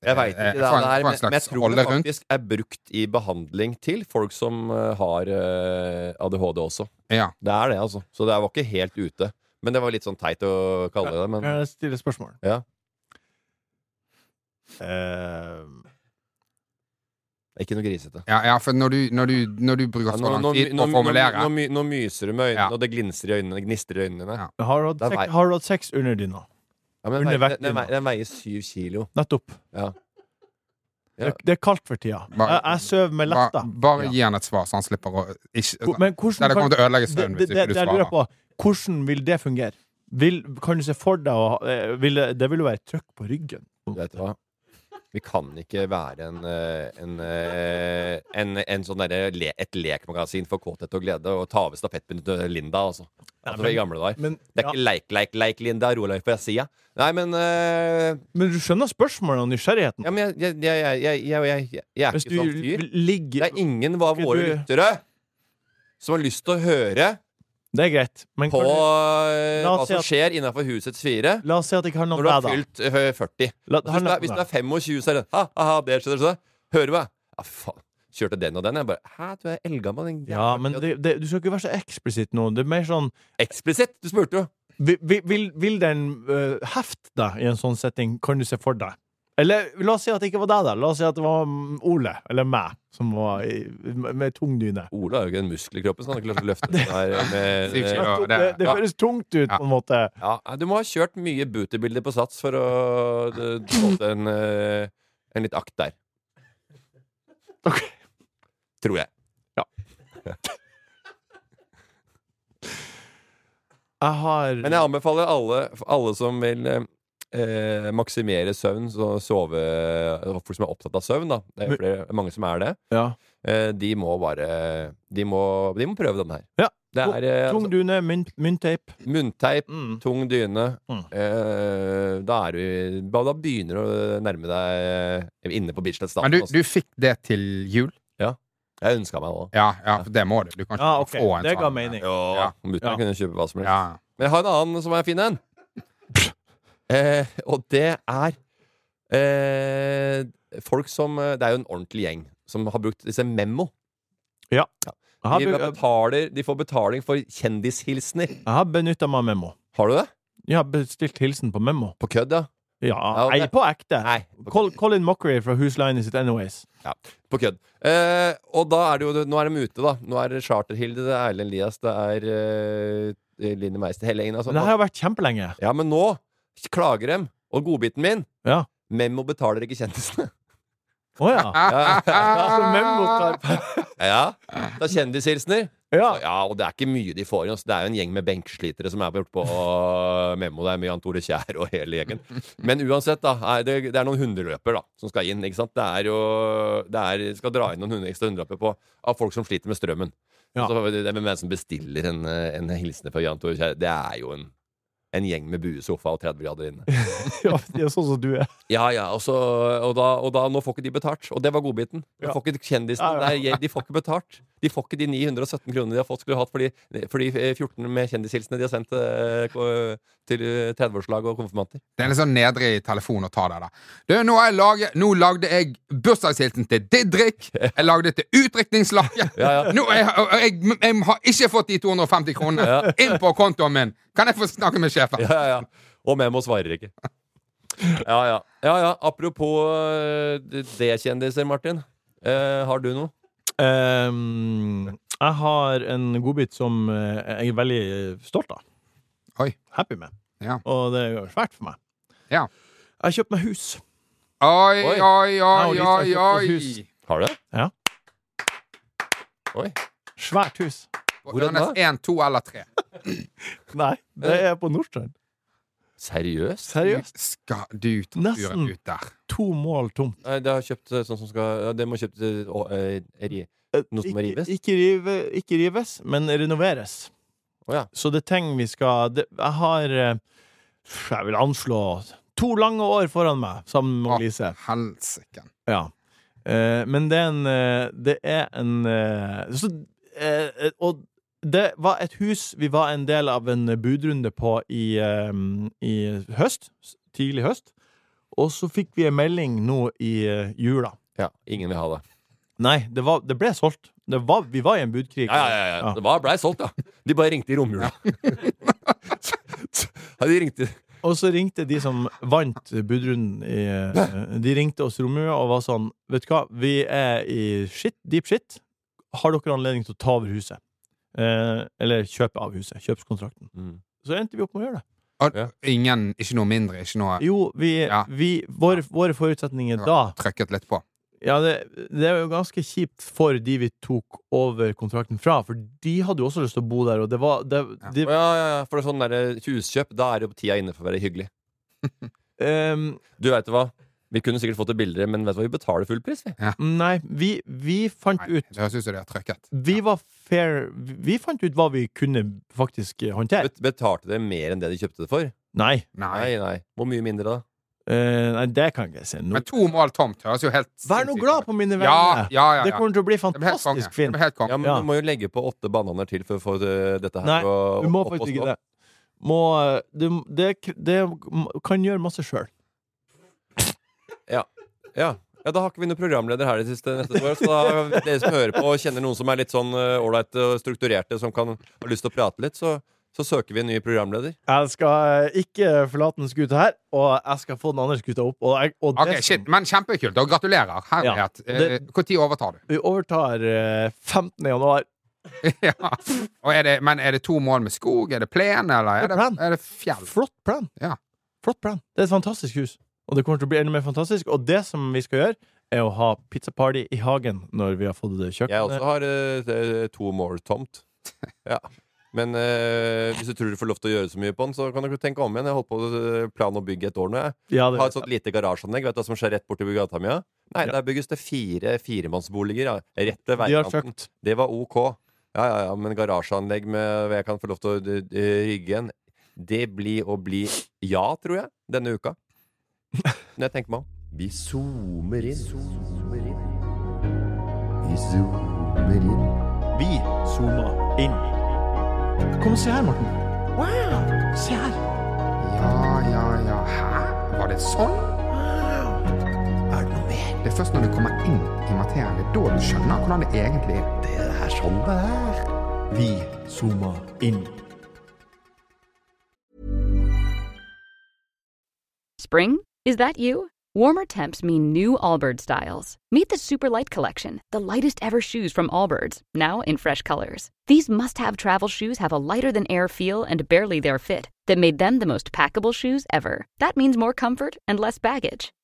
Jeg vet ikke
Eh,
det, det er,
få en- få en
men, men jeg
slags
tror det
rolle rundt.
faktisk er brukt i behandling til folk som eh, har eh, ADHD også.
Ja.
Det er det, altså. Så det var ikke helt ute. Men det var litt sånn teit å kalle det det. Men
Kan jeg stille et spørsmål?
Ja.
Eh,
ikke noe grisete.
Ja, ja, for når du, når du, når du bruker
Ja,
så
Nå,
lang
nå,
tid på
nå,
å
nå,
formulere
nå, my- nå myser du med øynene,
Ja.
og det glinser i øynene. Det gnistrer i øynene.
Ja.
har, du hatt
Da vei-
sex, har du hatt sex under dyna?
Ja, men den,
Under
veier, den,
vektdyna.
den, veier, den veier syv kilo.
Nettopp.
Ja. Ja.
Det, det er kaldt for tida.
Bare-
Jeg, jeg sover med letta.
Bare, bare
Ja.
gi han et svar, så han slipper å ikke,
Men hvordan
Nei, det kommer til å ødelegge
det,
søvnen
det,
hvis
det,
ikke du
jeg lurer
svarer.
på, hvordan vil det fungere? Vil, kan du se for deg å ha- eh, vil, det- Det vil jo være trøkk på ryggen.
Vet du hva? Vi kan ikke være en, eh, en, eh, en, en sånn derre le, et lekmagasin for kåthet og glede og ta over stafettpinnen til Linda, altså.
Nei,
altså
men-
i gamle dager.
Men,
Det er
ja,
ikke leik, leik, leik, Linda. Ro deg på sida. Nei, men eh,
men du skjønner spørsmålet og nysgjerrigheten?
Ja, men jeg, jeg, jeg, jeg, jeg, jeg, jeg, jeg er
Hvis
ikke
du
sånn fyr. Det
ligger
er ingen av
Skal
våre
du-
lyttere som har lyst til å høre
Det er greit, men
på
kan du,
eh,
La
hva
oss si
som
at-
skjer innafor husets fire
la oss si at det ikke handler om
når du har
deg, da.
fylt eh, 40.
La, det
Hvis du
handler
er,
om
hvis du
deg.
er 25, så er det ha, ha, ha, det skjedde, så hører du meg. Ja, faen. Kjørte den og den. Jeg bare Hæ, du er eldgammel. din jævla
Ja, men
idiot.»
det, det, du skal ikke være så eksplisitt nå. Det er mer sånn
Eksplisitt! Du spurte jo.
Vil, vil- vil, vil den eh, hefte deg i en sånn setting? Kan du se for deg? Eller la oss si at det ikke var deg, da. La oss si at det var mm, Ole, eller meg, som var i, med, med tung dyne.
Ole har jo ikke en muskel i kroppen, så han har ikke klart å løfte det der med
Syv
eh,
kilo. Ja,
det,
det-
det,
ja.
føles tungt ut, på en måte.
ja, Du må ha kjørt mye booterbilder på sats for å eh, få til en, eh, en litt akt der.
Ok.
Tror jeg.
Jeg har
Men jeg anbefaler alle, alle som vil eh, eh, maksimere søvn, så sove Folk som er opptatt av søvn, da. Det er jo flere, mange som er det.
ja.
Eh, de må bare De må, de må prøve den her.
Ja.
Det er eh,
Tung
altså,
dyne, mynt- myntteip.
munnteip,
Mm.
tung dyne.
Mm.
Eh, da er du Da da begynner du å nærme deg eh, inne på
Men
Bislett-staten.
du,
altså.
du fikk det til jul?
Jeg ønska meg det òg.
Ja, ja, for det må du. Du kan ikke
Ja, ok.
få en
Det ga
sånn,
mening.
Ja.
Mutter'n
Ja.
kunne kjøpe hva som helst.
Ja.
Men jeg har en annen som er fin en. Eh, og det er eh, folk som eh, Det er jo en ordentlig gjeng som har brukt disse memo.
Jeg har,
De,
be-
betaler, de får betaling for kjendishilsener.
jeg har benytta meg av memo.
Har du det?
Jeg har bestilt hilsen på memo.
På kødd, ja?
Ja,
ok.
jeg er på ekte.
Nei. På kødd.
Col Colin Mockery fra Who's Line Is It Anyways.
På kødd. Eh, og da er det jo Nå er de ute, da. Nå er det Charterhilde, det er Erlend Elias, det er eh, Line Meister, hele gjengen. Altså.
Men det her har vært kjempelenge.
Ja, men nå klager dem. Og godbiten min
Ja.
Memo betaler ikke kjendisene.
Å ja. altså, Så Memmotarp.
Ja, det er kjendishilsener.
Ja.
Ja, og det er ikke mye de får inn. altså. Det er jo en gjeng med benkslitere som er borte på øh, Memo. Det er mye Jan Tore Kjær og hele gjengen. Men uansett, da. Er det, det er noen hundeløper da, som skal inn. ikke sant? Det er jo det er, skal dra inn noen hunde, ekstra hundeløper på, av folk som sliter med strømmen.
Ja.
Så det er hvem som bestiller en, eh, en hilsen fra Jan Tore Kjær. Det er jo en, en gjeng med buesofa og 30 grader inne.
ja, det er sånn som du er.
Ja, ja, og, så, og, da, og da, nå får ikke de betalt. Og det var godbiten. De
Ja.
får ikke kjendisene.
Ja, ja.
der, de får ikke betalt. De får ikke de 917 kronene de har fått, skulle hatt for de, for de 14 med kjendishilsener de har sendt eh, ko- til eh, 30-årslag og konfirmanter.
Det er litt sånn nedre i telefonen å ta det der. Du, nå, har jeg laget, nå lagde jeg bursdagshilsen til Didrik. Jeg lagde det til utdrikningslaget.
Ja, ja.
Nå, jeg, jeg, jeg, har ikke fått de 250 kronene inn på kontoen min! Kan jeg få snakke med sjefen?
Ja, ja, ja. Og Memo svarer ikke. Ja, ja. ja, ja. Apropos eh, D-kjendiser, Martin. Eh, har du noe?
Ehm, jeg har en godbit som eh, jeg er veldig stolt av.
Oi.
Happy med.
Ja.
Og det er svært for meg.
Ja.
Jeg har kjøpt meg hus.
Oi,
Oi.
oi, oi,
Jeg har lyst
oi,
til å kjøpe hus.
oi.
Har du det?
Ja.
Oi.
Svært hus.
Hvordan da?
Ørnes én, to eller tre.
Nei, det er på Nordstrand.
Seriøst?
Seriøst.
Skal du ture
Nesten.
ut der?
To mål tomt.
Nei, det har kjøpt eh, sånn som skal ja, Det må kjøpt eh, å, eh, ri- Noe som må
Ikke,
rives?
ikke, rive, ikke rives, men renoveres.
Å ja.
Så det ting vi skal det, Jeg har eh, Jeg vil anslå to lange år foran meg sammen med
Å.
Lise.
Helsike.
Ja. Eh, men det er en eh, Det er en eh, så, eh, Og det var et hus vi var en del av en budrunde på i, eh, i høst. s- Tidlig høst. Og så fikk vi en melding nå i eh, jula.
ja. Ingen vil ha det.
Nei, det, var, det ble solgt. Det var, vi var i en budkrig.
Ja, ja, ja, ja. Det var, blei solgt, ja. De bare ringte i romjula. ja, de ringte
Og så ringte de som vant budrunden i, eh, De ringte oss i romjula og var sånn Vet du hva, vi er i shit, deep shit Har dere anledning til å ta over huset? Eh, eller kjøpe av huset, kjøpskontrakten
Mm.
Så endte vi opp med å gjøre det
Og
Ja.
Ingen, ikke noe mindre, ikke noe
Jo, vi,
Ja.
vi, våre, våre forutsetninger da
trøkket litt på.
Ja, det, det er jo ganske kjipt for de vi tok over kontrakten fra For de hadde jo også lyst til å bo der Og det var det,
Ja.
de,
Å, Ja, ja, ja. For det er sånn der, eh, huskjøp, da er jo tida inne for å være hyggelig.
ehm,
Du veit hva? Vi kunne sikkert fått det billigere, men vet du hva? vi betaler full pris, vi.
Nei, vi, vi fant
Nei,
ut
det høres ut som de har trøkket.
Vi var fair Vi fant ut hva vi kunne faktisk eh, håndtere.
Bet betalte det mer enn det de kjøpte det for?
Nei,
Nei.
Nei, nei. Hvor mye mindre, da?
eh, nei det kan jeg ikke si. Nå.
Men to mål tomt høres jo helt
Vær nå
sinnssykt
glad
ut.
på mine
Ja,
vegne!
ja, ja.
Det
ja.
kommer til å bli
Det blir helt konge.
fantastisk
Det
fint.
blir helt konge.
Ja, men
Ja.
Du må jo legge på åtte bananer til for å få eh, dette her
Nei,
til å-
Du må
opp og
faktisk
stå.
ikke det. Må, eh, det, det, det kan gjøre masse sjøl.
Ja. ja, da har ikke vi noen programleder her det siste neste år. Så da, dere som hører på og kjenner noen som er litt sånn eh, ålreite og strukturerte, som kan ha lyst til å prate litt, så, så søker vi en ny programleder.
Jeg skal eh, ikke forlate den skuta her, og jeg skal få den andre skuta opp. Og, jeg, og
Ok,
det som-
shit, Men kjempekult, og gratulerer. Herlighet. Eh,
Ja, det-
Når overtar du?
Vi overtar eh, 15. januar.
ja. og er det, men er det to mål med skog? Er det plen, eller er
Det er
det,
plen.
er det fjell?
Flott plan.
Ja.
Flott plan. Det er et fantastisk hus, og det kommer til å bli enda mer fantastisk. Og det som vi skal gjøre, er å ha pizzaparty i hagen når vi har fått
Jeg også
kjøkkenet.
har eh, eh, to more tomt. Ja. Men eh, hvis du tror du får lov til å gjøre så mye på den, så kan du ikke tenke om igjen. Jeg holdt på eh, plan å bygge et år nå. jeg.
Ja, det
Ha et sånt lite garasjeanlegg. Vet du hva som skjer rett borti gata mi? ja? Nei,
Ja.
der bygges det fire firemannsboliger. Ja. Rett ved
De har
veikanten.
kjøpt.
Det var ok. Ja, ja, ja, men garasjeanlegg med hvor jeg kan få lov til å eh, rygge en, det blir å bli ja, tror jeg, denne uka. Når jeg tenker meg om.
Vi zoomer inn. Vi zoomer inn.
Vi zooma inn. Kom og se her, Morten. Wow! Se her.
Ja, ja, ja. Hæ? Var det sånn?
Er det noe mer?
Det er først når du kommer inn i materien, det er da du skjønner hvordan det egentlig er.
Det er sånn det er.
Vi zooma inn.
Spring? Is that you? Warmer temps mean new Allbirds styles. Meet the Super Light Collection, the lightest ever shoes from Allbirds, now in fresh colors. These must have travel shoes have a lighter than air feel and barely their fit that made them the most packable shoes ever. That means more comfort and less baggage.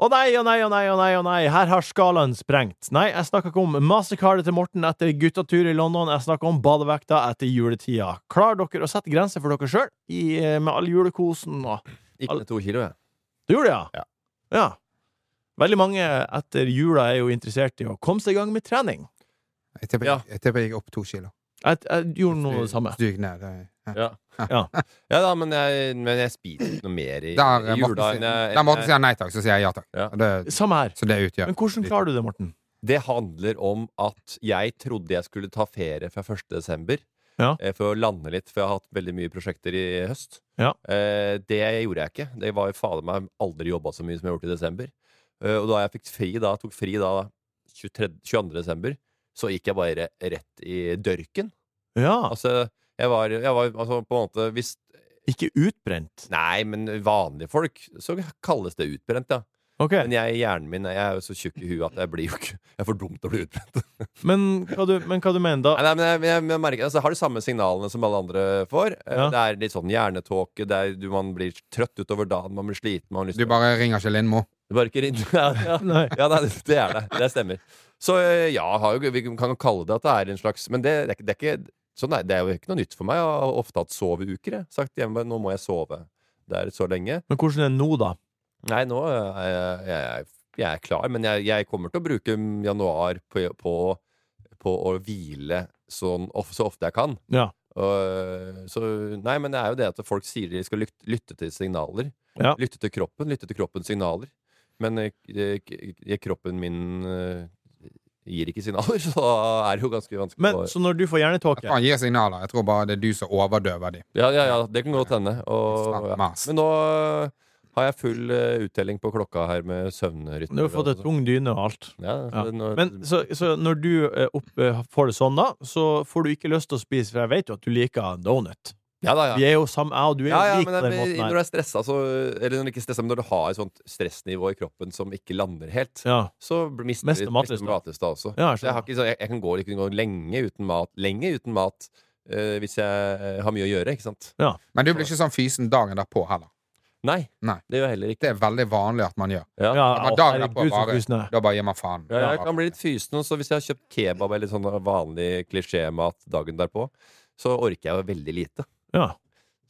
Å nei, å nei, å nei, å nei, å nei, her har skalaen sprengt. Nei, jeg snakka ikke om mastercardet til Morten etter guttatur i London, jeg snakka om badevekta etter juletida. Klarer dere å sette grenser for dere sjøl med all julekosen og
Gikk ned to kilo, jeg.
Du gjorde det, ja?
Ja.
Ja. Veldig mange etter jula er jo interessert i å komme seg i gang med trening.
Jeg tipper
Ja.
jeg- jeg tipper jeg gikk opp to kilo.
Jeg, jeg gjorde noe av det samme.
Dyg ned. eh, ja.
Ja.
Ja.
Ja da, men jeg, men jeg spiser ikke noe mer i,
Der
i
eh,
jula
Morten
enn
sier-
jeg,
der Morten
enn jeg-
sier nei takk, så sier jeg ja takk.
Ja.
Og Det,
Samme her.
så det utgjør
Men hvordan klarer du det, Morten?
Det handler om at jeg trodde jeg skulle ta ferie fra 1. desember
Ja.
eh, for å lande litt, for jeg har hatt veldig mye prosjekter i høst.
Ja.
Eh, det gjorde jeg ikke. Det var jo fader meg aldri jobba så mye som jeg gjorde i desember. Eh, og da jeg fikk fri da, tok fri da 23, 22. desember, så gikk jeg bare rett i dørken.
Ja,
Altså, jeg var, jeg var altså, på en måte Hvis
ikke utbrent.
Nei, men vanlige folk, så kalles det utbrent, ja.
Ok,
Men jeg, hjernen min, jeg er jo så tjukk i huet at jeg blir jo ikke Jeg er for dum til å bli utbrent.
men hva du, men hva du mener da?
Nei, nei, men jeg, men jeg, men jeg merker, altså, jeg har de samme signalene som alle andre får. Eh,
Ja.
Det er litt sånn hjernetåke, det er, du, man blir trøtt utover dagen, man blir sliten man har lyst
Du
til å-
bare ringer ikke Lindmo.
Du bare ikke rinner. Ja, ja.
Nei.
ja nei, det er det. Det stemmer. Så eh, ja, har jo, vi kan jo kalle det at det er en slags Men det, det, er, ikke- det, er, ikke, sånn, er- det er jo ikke noe nytt for meg. Jeg har ofte hatt soveuker. Jeg. Sagt hjemme, nå må jeg sove der så lenge.
Men hvordan er det nå, da?
Nei, nå er jeg, jeg, jeg er klar, men jeg, jeg kommer til å bruke januar på, på, på å hvile sånn, of, så ofte jeg kan.
Ja.
Og, så, nei, men det er jo det at folk sier de skal lyt- lytte til signaler.
Ja.
Lytte til kroppen, lytte til kroppens signaler. Men eh, k- k- kroppen min eh, gir ikke signaler, så da er det jo ganske vanskelig
Men,
å-
så når du får
Jeg
hjernetåke
tror han gir signaler. Jeg tror bare det er du som overdøver de.
Ja, ja, ja, det kan godt hende. Og,
Snakker
ja.
mas.
Men nå eh, har jeg full eh, uttelling på klokka her med søvnrytmer.
Du har fått
og
en
sånn.
tung dyne og alt.
Ja,
Ja.
det- nå-
Men så, så når du eh, opp, eh, får det sånn, da, så får du ikke lyst til å spise, for jeg vet jo at du liker donut.
ja da, ja.
Vi er jo sammen, jeg og du er
ja,
jo
ja,
lik på
men det,
den måten
når du
her.
er stressa, så Eller når du ikke er stresset, men når du har et sånt stressnivå i kroppen som ikke lander helt,
Ja.
så bl- mister
Mister
du
matlysta.
mister matlysta også.
Ja, jeg
Så jeg, har ikke, så jeg, jeg kan gå, jeg kan gå lenge uten mat, lenge uten mat eh, hvis jeg eh, har mye å gjøre, ikke sant?
Men du blir ikke sånn fysen dagen derpå heller.
Nei.
Nei.
Det gjør jeg heller ikke.
Det er veldig vanlig at man gjør.
Ja.
Ja,
Det var dagen
herregud,
derpå
så
bare-
frysende.
Da bare gir man faen.
Ja, jeg kan bli litt fysen, så hvis jeg har kjøpt kebab eller sånn vanlig klisjémat dagen derpå, så orker jeg jo veldig lite.
Ja.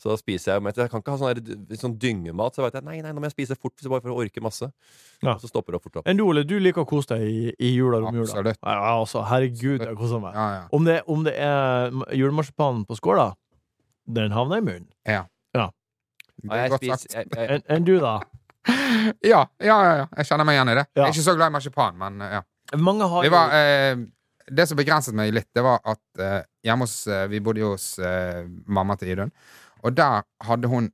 Så da spiser jeg men Jeg kan ikke ha sånn, der, sånn dyngemat. Så vet jeg nei, nei, nå må jeg spise fort, så bare for å orke masse.
Ja. Eh,
Og så stopper det fort opp.
Enn du, Ole, du liker å kose deg i, i jula og romjula.
Absolutt.
Ja, altså, herregud, jeg koser meg.
Ja, ja.
Om det, om det er m- julemarsipanen på skåla, den havner i munnen.
Det
Ja,
er
jeg
godt
spiser,
sagt.
jeg, jeg,
Enn enn du, da?
Ja, ja, ja, ja. Jeg kjenner meg igjen i det.
Ja.
Jeg er ikke så glad i marsipan, men eh, ja.
Mange har
Det,
jo
var, eh, det som begrenset meg litt, det var at eh, hjemme hos eh, Vi bodde jo hos eh, mamma til Idun, og der hadde hun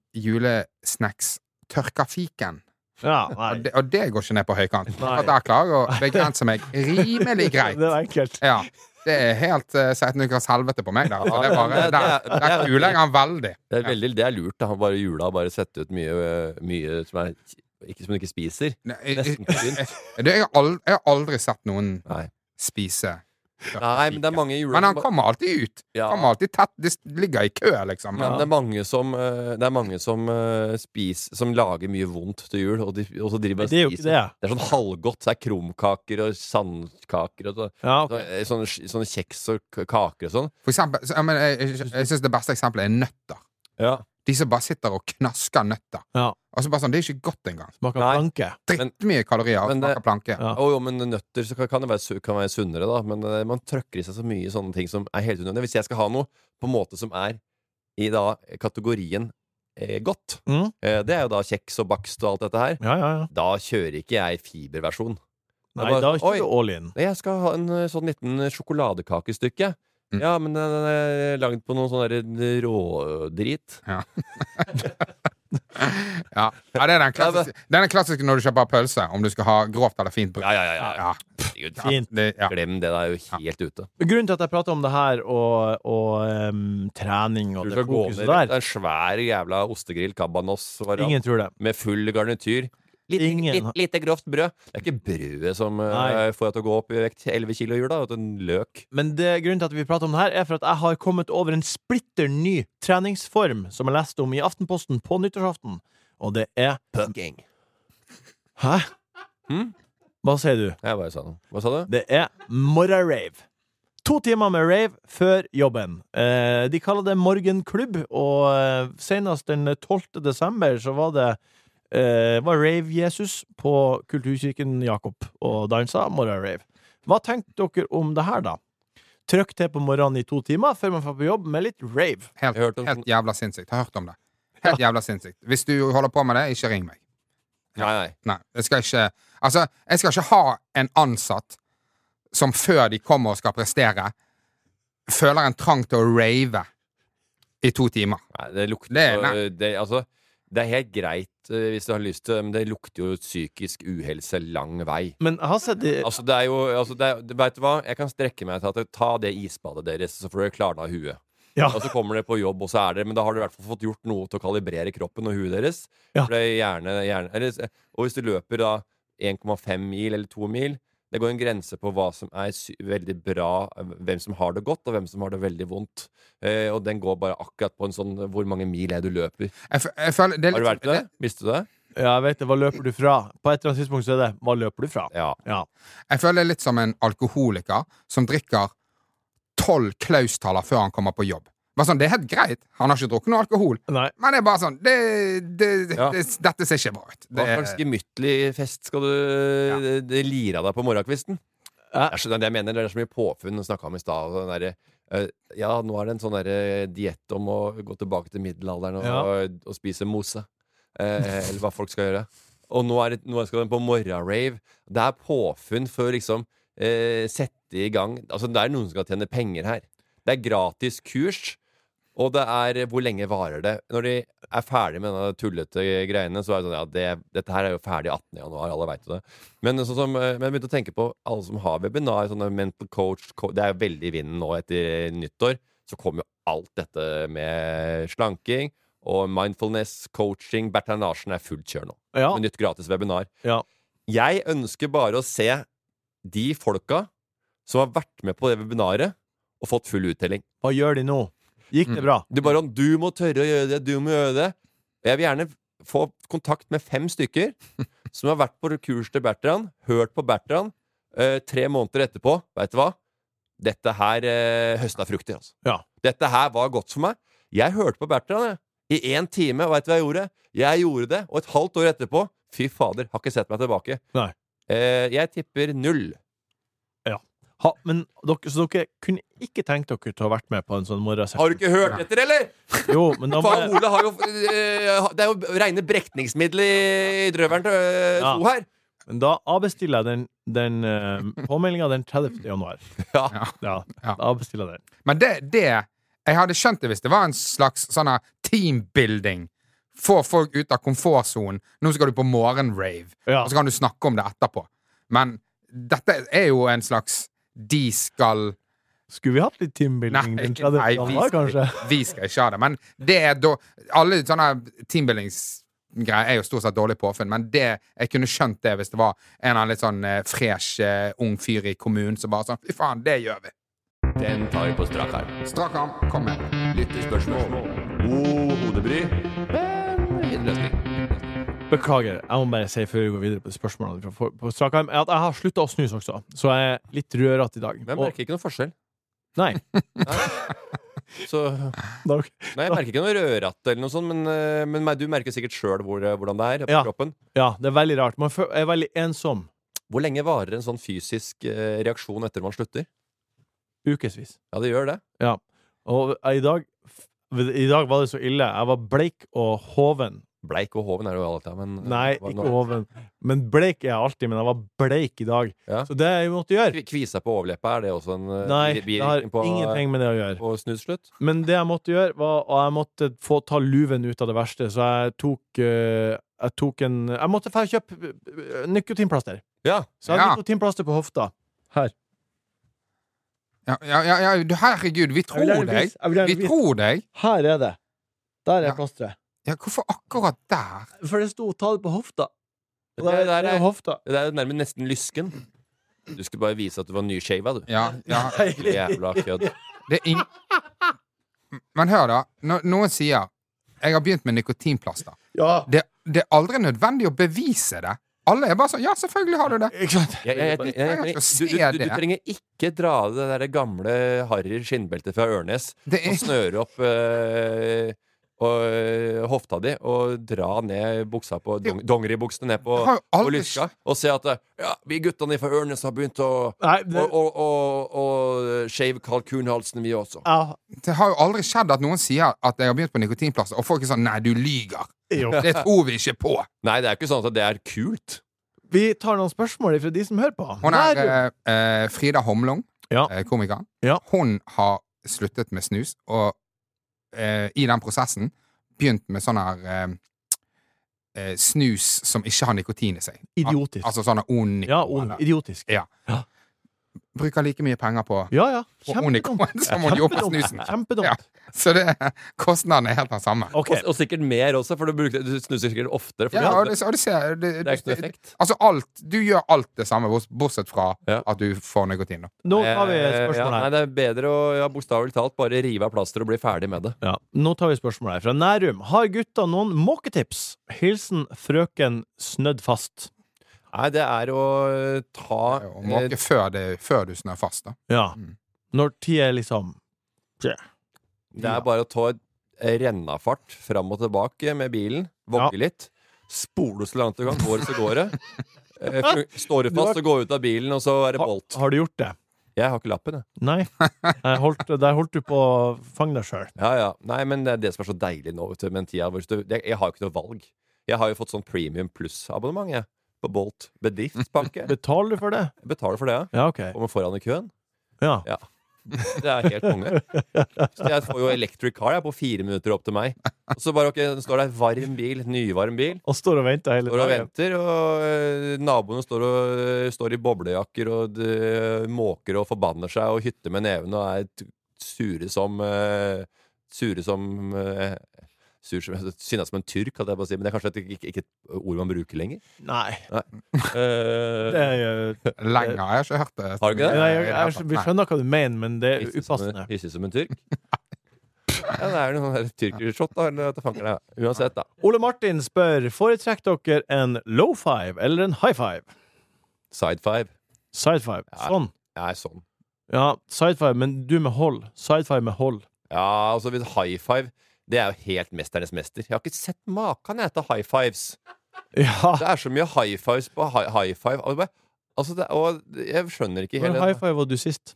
julesnacks tørka fiken.
ja,
Og
nei.
det, og det går ikke ned på høykant.
Nei.
For der klarer jeg å begrense meg rimelig greit.
Det er enkelt.
Ja. Det er helt uh, 16 ukers helvete på meg, da.
Ja,
Det er bare,
det- det
der,
er-
der
det er-
kuler jeg han veldig.
Det er veldig, det er lurt. da Bare jula bare sette ut mye, mye som, er, ikke, som du ikke spiser.
Nei, jeg,
Nesten tynt.
det, jeg, har aldri, jeg har aldri sett noen
Nei.
spise
Nei, men det er mange
Men
juler
han kommer alltid ut.
Ja.
Kommer alltid tett. De s- ligger i kø, liksom.
men det er mange som, eh, det er mange som, eh, spis, som lager mye vondt til jul, og, de, og så driver
Men
og
det er jo ikke
spiser.
det.
Det er sånn halvgodt. Det er krumkaker og sandkaker og så,
Ja, ok.
så, eh, sånne, sånne kjeks og k- kaker og sånn.
For eksempel, så, jeg, men, eh, jeg, jeg, jeg syns det beste eksempelet er nøtter.
Ja.
De som bare sitter og knasker nøtter.
Ja.
Og så bare sånn, Det er ikke godt engang.
Smaker
Nei.
planke.
Drittmye kalorier og
men det-
smaker planke.
Ja.
Å jo, men nøtter så kan- kan det være, su- kan være sunnere, da. Men eh, man trøkker i seg så mye sånne ting som er helt unødvendig. Hvis jeg skal ha noe på en måte som er i da kategorien eh, godt,
Mm.
eh, det er jo da kjeks og bakst og alt dette her,
Ja, ja, ja.
da kjører ikke jeg fiberversjon.
Nei,
bare-
da
Oi.
kjører du all in.
Nei, Jeg skal ha en eh, sånn liten sjokoladekakestykke.
Mm.
Ja, eh, men den er lagd på noe sånn der rådrit.
Ja. Ja, ja det er den klassiske, den er klassiske når du kjøper pølse, om du skal ha grovt eller fint brød.
Ja, ja, ja, ja. Herregud.
Ja,
Fint.
det, ja.
Glem det, det er jo helt ute.
Grunnen til at jeg prater om det her og, og em, trening og
Du
det
skal gå
fokuset
ned Det er
der
en svær jævla ostegrill, cabanos-variant,
Ingen tror det.
med full garnityr. Litt,
Ingen
litt,
har-
lite grovt brød. Det er ikke brødet som eh,
Nei.
får deg til å gå opp i vekt 11 kilo i jula, vet du, en løk.
Men det, grunnen til at vi prater om det her, er for at jeg har kommet over en splitter ny treningsform som jeg leste om i Aftenposten på nyttårsaften, og det er
Pucking.
Hæ?
Hm?
Hva sier du?
Jeg bare sa noe. Hva sa du?
Det er morgenrave. To timer med rave før jobben. Eh, de kaller det morgenklubb, og eh, senest den 12. desember så var det eh, var Rave-Jesus på Kulturkirken Jakob og dansa morgenrave. Hva tenkte dere om det her, da? Trøkk til på morgenen i to timer før man får på jobb med litt rave.
Helt,
Jeg hørte om
helt
sånn-
jævla sinnssykt. Jeg har hørt om det. Helt jævla sinnssykt. Hvis du holder på med det, ikke ring meg.
Nei, nei.
Nei, jeg skal ikke Altså, jeg skal ikke ha en ansatt som før de kommer og skal prestere, føler en trang til å rave i to timer.
Nei, det lukter
Det-
det,
nei.
det, altså, det er helt greit eh, hvis du har lyst til det, men det lukter jo psykisk uhelse lang vei.
Men jeg har sett de
Altså, det er jo altså, det er, det- Vet du hva? Jeg kan strekke meg til at ta det isbadet deres, så får dere klarna huet.
Ja.
Og så kommer dere på jobb, og så er dere Men da har dere i hvert fall fått gjort noe til å kalibrere kroppen og huet deres.
Ja.
For det er gjerne, gjerne eller, Og hvis du løper da 1,5 mil eller 2 mil det går en grense på hva som er sy veldig bra, hvem som har det godt, og hvem som har det veldig vondt. Eh, og den går bare akkurat på en sånn Hvor mange mil er det du løper?
Jeg, f- jeg føler det er
Har du
litt,
vært med det? Visste du det?
Ja, jeg vet det. Hva løper du fra? På et eller annet tidspunkt så er det Hva løper du fra?
Ja.
Ja.
Jeg føler det er litt som en alkoholiker som drikker tolv klaustaler før han kommer på jobb. Bare sånn, Det er helt greit, han har ikke drukket noe alkohol,
Nei.
men det er bare sånn det, det,
Ja.
det, Dette ser ikke bra ut.
Hva
Det,
slags gemyttlig fest skal du det- det lire av deg på morgenkvisten?
Ja.
Jeg skjønner det jeg mener, det er så mye påfunn vi snakka om i stad. og den derre, eh, Ja, nå er det en sånn derre diett om å gå tilbake til middelalderen og,
Ja.
og, og spise mose. Eh, eller hva folk skal gjøre. Og nå, er det, nå skal den på morgenrave. Det er påfunn for å liksom eh, sette i gang Altså, det er noen som skal tjene penger her. Det er gratis kurs. Og det er eh, hvor lenge varer det? Når de er ferdig med denne tullete greiene, så er det sånn ja, det, dette her er jo ferdig 18. januar, alle veit jo det. Men, sånn som, eh, men jeg begynte å tenke på alle som har webinar, sånne mental coach co Det er veldig i vinden nå etter nyttår. Så kommer jo alt dette med slanking og mindfulness, coaching Bertrand Larsen er fullt kjør nå.
Ja.
Med nytt gratis webinar.
Ja.
Jeg ønsker bare å se de folka som har vært med på det webinaret og fått full uttelling.
Hva gjør de nå? Gikk det
Mm.
bra?
Du bare Du må tørre å gjøre det, du må gjøre det. Og jeg vil gjerne få kontakt med fem stykker som har vært på kurs til Bertrand, hørt på Bertrand, eh, tre måneder etterpå. Veit du hva? Dette her eh, høsta frukter, altså.
Ja.
Dette her var godt for meg. Jeg hørte på Bertrand jeg, i én time, og veit du hva jeg gjorde? Jeg gjorde det, og et halvt år etterpå Fy fader, har ikke sett meg tilbake.
Nei.
Eh, jeg tipper null.
Ha, men dere, så dere kunne ikke tenkt dere til å ha vært med på en sånn morgensession?
Har du ikke hørt etter, eller?!
Jo, men da må
Faen,
jeg,
Ole har jo eh, Det er jo reine brekningsmiddel i i drøveren til eh,
Ja.
to her.
men da avbestiller jeg den, den eh, påmeldinga den 30. januar.
Ja.
Ja,
Ja.
da avbestiller jeg den.
eh, men det, det Jeg hadde skjønt det hvis det var en slags sånn her teambuilding. Få folk ut av komfortsonen. Nå skal du på morgenrave,
Ja.
og så kan du snakke om det etterpå. Men dette er jo en slags de skal
Skulle vi hatt litt teambuilding den 30. januar, kanskje?
vi skal ikke ha det. Men det er da Alle sånne teambuildingsgreier er jo stort sett dårlig påfunn, men det, jeg kunne skjønt det hvis det var en eller annen litt sånn eh, fresh eh, ung fyr i kommunen som bare sånn Fy faen, det gjør vi.
Den tar vi på strak arm.
Strak arm, kom med.
Lyttespørsmål. God hodebry. Men fin løsning.
Beklager. Jeg må bare si før vi går videre på de spørsmålene fra for- på strak arm, at jeg har slutta å snuse også, så jeg er litt rødete i dag.
Men jeg
Og,
merker ikke noe forskjell.
nei.
Så,
Da,
nei, jeg merker ikke noe rødratt eller noe sånt, men, eh, men meg- du merker sikkert sjøl hvor, eh, hvordan det er på
Ja.
kroppen.
ja, det er veldig rart. Man fø- er veldig ensom.
Hvor lenge varer en sånn fysisk eh, reaksjon etter man slutter?
Ukevis. eh,
Ja, det gjør det.
Og jeg- i dag f- I dag var det så ille. Jeg var bleik og hoven
Bleik og hoven er det jo alltid, men eh,
Nei,
hva-
ikke
nå-
hoven. Men bleik er jeg alltid, men jeg var bleik i dag.
Ja.
Så det jeg måtte gjøre
Kvi- Kvisa på overleppa, er det også en eh,
Nei,
bi-
det har
bivirkning på,
ingenting med det å gjøre.
på snusslutt?
Men det jeg måtte gjøre, var Og jeg måtte få ta luven ut av det verste, så jeg tok eh, Jeg tok en Jeg måtte få kjøpe eh, nikotinplaster.
Ja.
Så jeg hadde
Ja.
nikotinplaster på hofta.
Ja, ja, ja, ja, du, herregud, vi
vil
tror
gjerne
deg!
vise- jeg vil gjerne
Vi
vise-
tror deg!
Her er det. Der er
Ja.
plasteret.
Ja, hvorfor akkurat der?
For det sto 'ta det på hofta'. Og
Det,
der,
der
det
er,
er hofta.
det er nærmest nesten lysken. Du skulle bare vise at du var nyshava, du.
Ja, ja.
Jævla kødd.
Det er ing... Men hør, da. Når noen sier 'jeg har begynt med nikotinplaster',
Ja,
det, det er aldri nødvendig å bevise det. Alle er bare sånn 'ja, selvfølgelig har du det'.
ikke sant?
Jeg, jeg, jeg, jeg,
Jeg
trenger- du,
skal
du,
se
du, du
det.
trenger ikke dra av det der gamle harry skinnbeltet fra Ørnes
Det
og
er,
snøre opp eh, og, eh, hofta di og dra ned buksa på dong, dongeribuksene ned på,
Jeg har jo
på
aldri
lyska og se at eh, ja, vi guttene fra Ørnes har begynt å
Nei, det,
og, og, og, og shave kalkunhalsen, vi også.
ja,
det har jo aldri skjedd at noen sier at 'jeg har begynt på nikotinplaster', og folk er sånn 'nei, du lyger'.
jo.
Det tror vi ikke på.
Nei, det er ikke sånn at det er kult.
Vi tar noen spørsmål fra de som hører på.
Hun
Der,
er
du.
eh, eh, Frida Homlung,
Ja.
eh, komikeren.
Ja.
Hun har sluttet med snus, og eh, i den prosessen begynt med sånn her eh, eh, snus som ikke har nikotin i seg.
Idiotisk.
Al altså sånn Onico.
Ja, on,
eller-
idiotisk.
Bruker like mye penger på,
Ja, ja.
på Onicoen som hun gjorde på snusen.
Kjempedumt.
Ja. Så det, kostnaden er helt den samme.
OK.
Og, og sikkert mer også, for du, bruker, du snuser sikkert oftere. For
Ja, og
det,
det, og det, ser, det,
det er ikke noe effekt.
Altså alt, Du gjør alt det samme, bors- bortsett fra
Ja.
at du får nikotin. da
Nå tar vi
Eh, ja,
spørsmål
nei,
her.
det er bedre å ja, bokstavelig talt bare rive av plasteret og bli ferdig med det.
Ja. Nå tar vi spørsmål her fra Nærum. Har gutta noen måketips? Hilsen frøken snødd fast.
Nei, det er å eh, ta
Og
eh,
måke før, det, før du snør fast. da
Ja.
Mm.
Når tid er liksom
Det er bare å ta et rennafart fram og tilbake med bilen, vogge litt, spole så langt du kan, går det så går det. Eh, fun- Står du
Du har-
fast og går ut av bilen, og så er det
ha,
bolt.
Har du gjort det?
Jeg har ikke lappen, jeg.
Nei. Jeg holdt, der holdt du på å fange deg sjøl.
Ja, ja. Nei, men det er det som er så deilig nå, vet du, med den tida hvor du Jeg, jeg har jo ikke noe valg. Jeg har jo fått sånn premium pluss-abonnement, jeg. På Bolt. Bedriftspakke. Jeg
Betaler du for det?
betaler for det, ja.
Ja, OK.
Kommer foran i køen.
Ja.
Ja. Det er helt konge. Så jeg får jo electric car jeg, på fire minutter opp til meg. Og så bare, ok, det står det en varm bil, nyvarm bil.
Og står og venter hele
Står og
dagen.
venter, og eh, naboene står, og, eh, står i boblejakker og de, måker og forbanner seg og hytter med nevene og er t- sure som eh, Sure som uh, Sur som, Synes som en tyrk, hadde jeg på å si, men det er kanskje et, ikke, ikke et ord man bruker lenger.
Nei.
Eh,
Det er, jo-
Lenger har jeg ikke hørt det.
Har du ikke det?
nei jeg, jeg, vi skjønner hva du mener, men det er
Hissig som en-
upassende.
Hissig som en tyrk. Ja, det er noen der tyrkershot, da. Eller, at det fanger deg. Uansett, da.
Ole Martin spør foretrekker dere en low five eller en high five?
Side five.
Side five.
Ja.
Sånn.
Nei, sånn.
Ja, side five, men du med hold. Side five med hold.
Ja, altså, hvis high five det er jo helt Mesternes mester. Jeg har ikke sett maken jeg, til high fives.
Ja,
Det er så mye high fives på high, high five. Og, det bare- altså, det, og jeg skjønner ikke
men
hele
high five var du sist.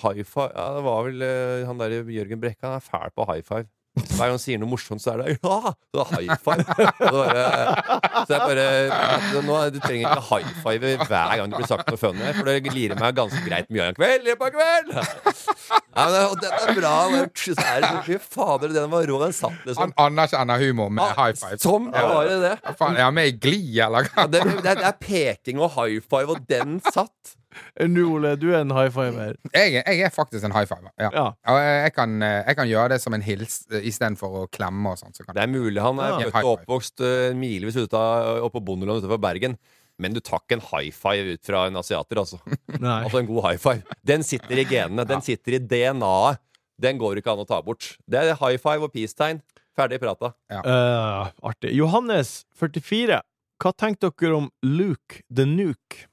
High five ja, Det var vel eh, han der Jørgen Brekke, han er fæl på high five. Hver gang han sier noe morsomt, så er det ja! Det var high five. Og det bare, så jeg bare nå, Du trenger ikke high five hver gang det blir sagt noe funny, for det lirer meg ganske greit mye av en kveld. i på kveld ja, men det, og den er bra. men Så er det så Fy fader, den var rå. Den satt,
Han
liksom.
anerkjenner humor med
Ah,
high five.
Som bare det.
Ja, faen, er han med i Gli, eller hva?
Ja, det, det, er- det er peking og high five, og den satt.
Eh, Nå, Ole, du er en high fiver.
Jeg, er- jeg er faktisk en high fiver. Ja.
Ja.
Og jeg kan, jeg kan gjøre det som en hils eh, istedenfor å klemme og sånn. Så kan
Det er mulig han er
Ja.
født
High
og
five.
oppvokst eh, milevis ute av- oppe på Bondeland utenfor Bergen. Men du tar ikke en high five ut fra en asiater, altså.
Nei.
Altså en god high five. Den sitter i genene. Den sitter i DNA-et. Den går ikke an å ta bort. Det er high five og peace-tegn. Ferdig prata.
Eh, artig. Johannes, 44. Hva tenkte dere om Luke the Nuke?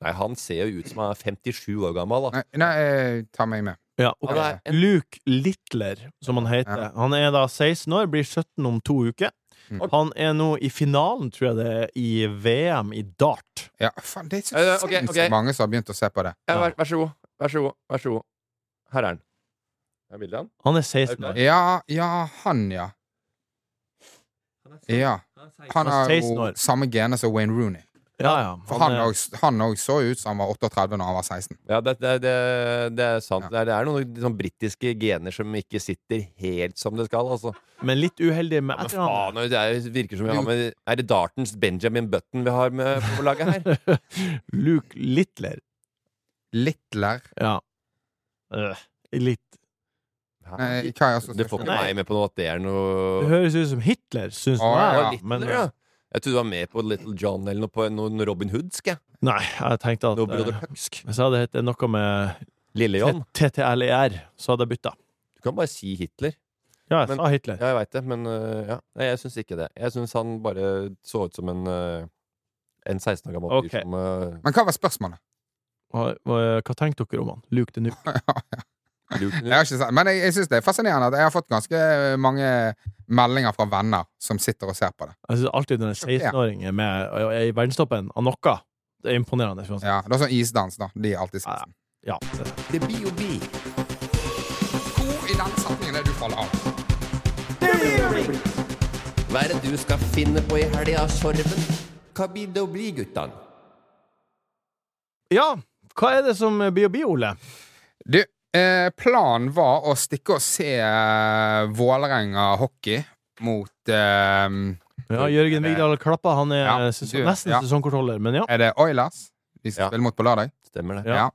Nei, han ser jo ut som han er 57 år gammel, da.
Nei, nei eh, ta meg med.
Ja, ok.
Han er en,
Luke Littler, som han heter.
Ja.
Han er da 16 år, blir 17 om to uker.
Mm.
Han er nå i finalen, tror jeg det er, i VM i dart.
Ja, faen, det er så
Eh, ok,
sinnssykt
ok.
mange som har begynt å se på det.
ja, vær, vær så god. Vær så god. Vær så god. Her er han. Er bildet av han?
Han er 16 år.
Ok.
Ja, ja, han, ja. Ja. Han
Han er
har
16
jo
år.
samme gene som Wayne Rooney.
Ja, ja. eh,
For han
er-
også- han òg så ut som han var 38 når han var 16.
Ja, det, det, det, det er sant.
Ja.
Det, er, det er noen sånn britiske gener som ikke sitter helt som det skal, altså.
Men litt uheldig med
Men
etternavnet.
faen, det er, virker som vi har med Er det Dartons Benjamin Button vi har med på laget her?
Luke Littler.
Littler
Ja. Øh, litt.
Nei, Eh, hva er assosiasjonen?
Du får ikke
Nei.
meg med på noe at det er
Det
noe
høres ut som Hitler, syns
Å,
jeg.
ja,
da,
Littler,
men-
ja. Jeg trodde du var med på Little John eller noe, på noen Robin Hood, skal jeg.
Nei, jeg tenkte at
Noe Broder
eh,
Hucksk.
Hvis jeg hadde hett noe med
Lille John.
TTLER, E så hadde jeg bytta.
Du kan bare si Hitler.
Ja, jeg
Men-
sa Hitler.
Ja, jeg veit det, men øh, ja. Nei, jeg syns ikke det. Jeg syns han bare så ut som en øh, en 16 år gammel
Ok.
fyr som øh,
Men hva var spørsmålet?
Og, og, hva tenkte dere om han? Luke the Nuke?
lurte
Jeg har ikke sagt, men jeg, jeg syns det er fascinerende at jeg har fått ganske mange meldinger fra venner som sitter og ser på det.
Jeg synes alltid når en 16-åring er med og er i verdenstoppen av noe, det er imponerende. uansett.
Ja, det er sånn isdans, da. De er alltid
Ja.
sitsen.
Ja.
Det blir jo bil.
Hvor i den setningen er det du faller av?
Hva er det du skal finne på i helga, Sorven? Hva blir det å bli, guttan?
ja, hva er det som blir å bli, Ole?
Du, eh, planen var å stikke og se eh, Vålerenga hockey mot eh,
Ja, Jørgen Vigdal Klappa, han er
Ja,
ses-
du-
nesten
ja.
sesongkontroller, men ja.
Er det Oilers? De som
Ja.
spiller mot på lørdag?
Stemmer det.
Ja.
Ja.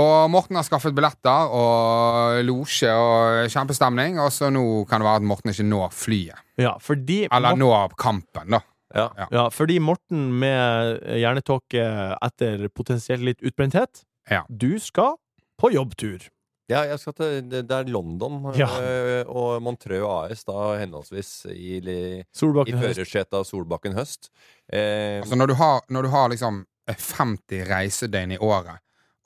Og Morten har skaffet billetter og losje og kjempestemning. Og så nå kan det være at Morten ikke når flyet.
ja fordi
Eller når kampen, da.
Ja.
Ja.
Ja, fordi Morten med hjernetåke etter potensielt litt utbrenthet
Ja.
Du skal på jobbtur.
Ja, jeg skal til det, det er London
Ja.
øh, og Montreux AS, da henholdsvis i, li- i
Solbakken høst.
førersetet av Solbakken høst. Eh,
Altså når du har, når du har liksom 50 reisedøgn i året,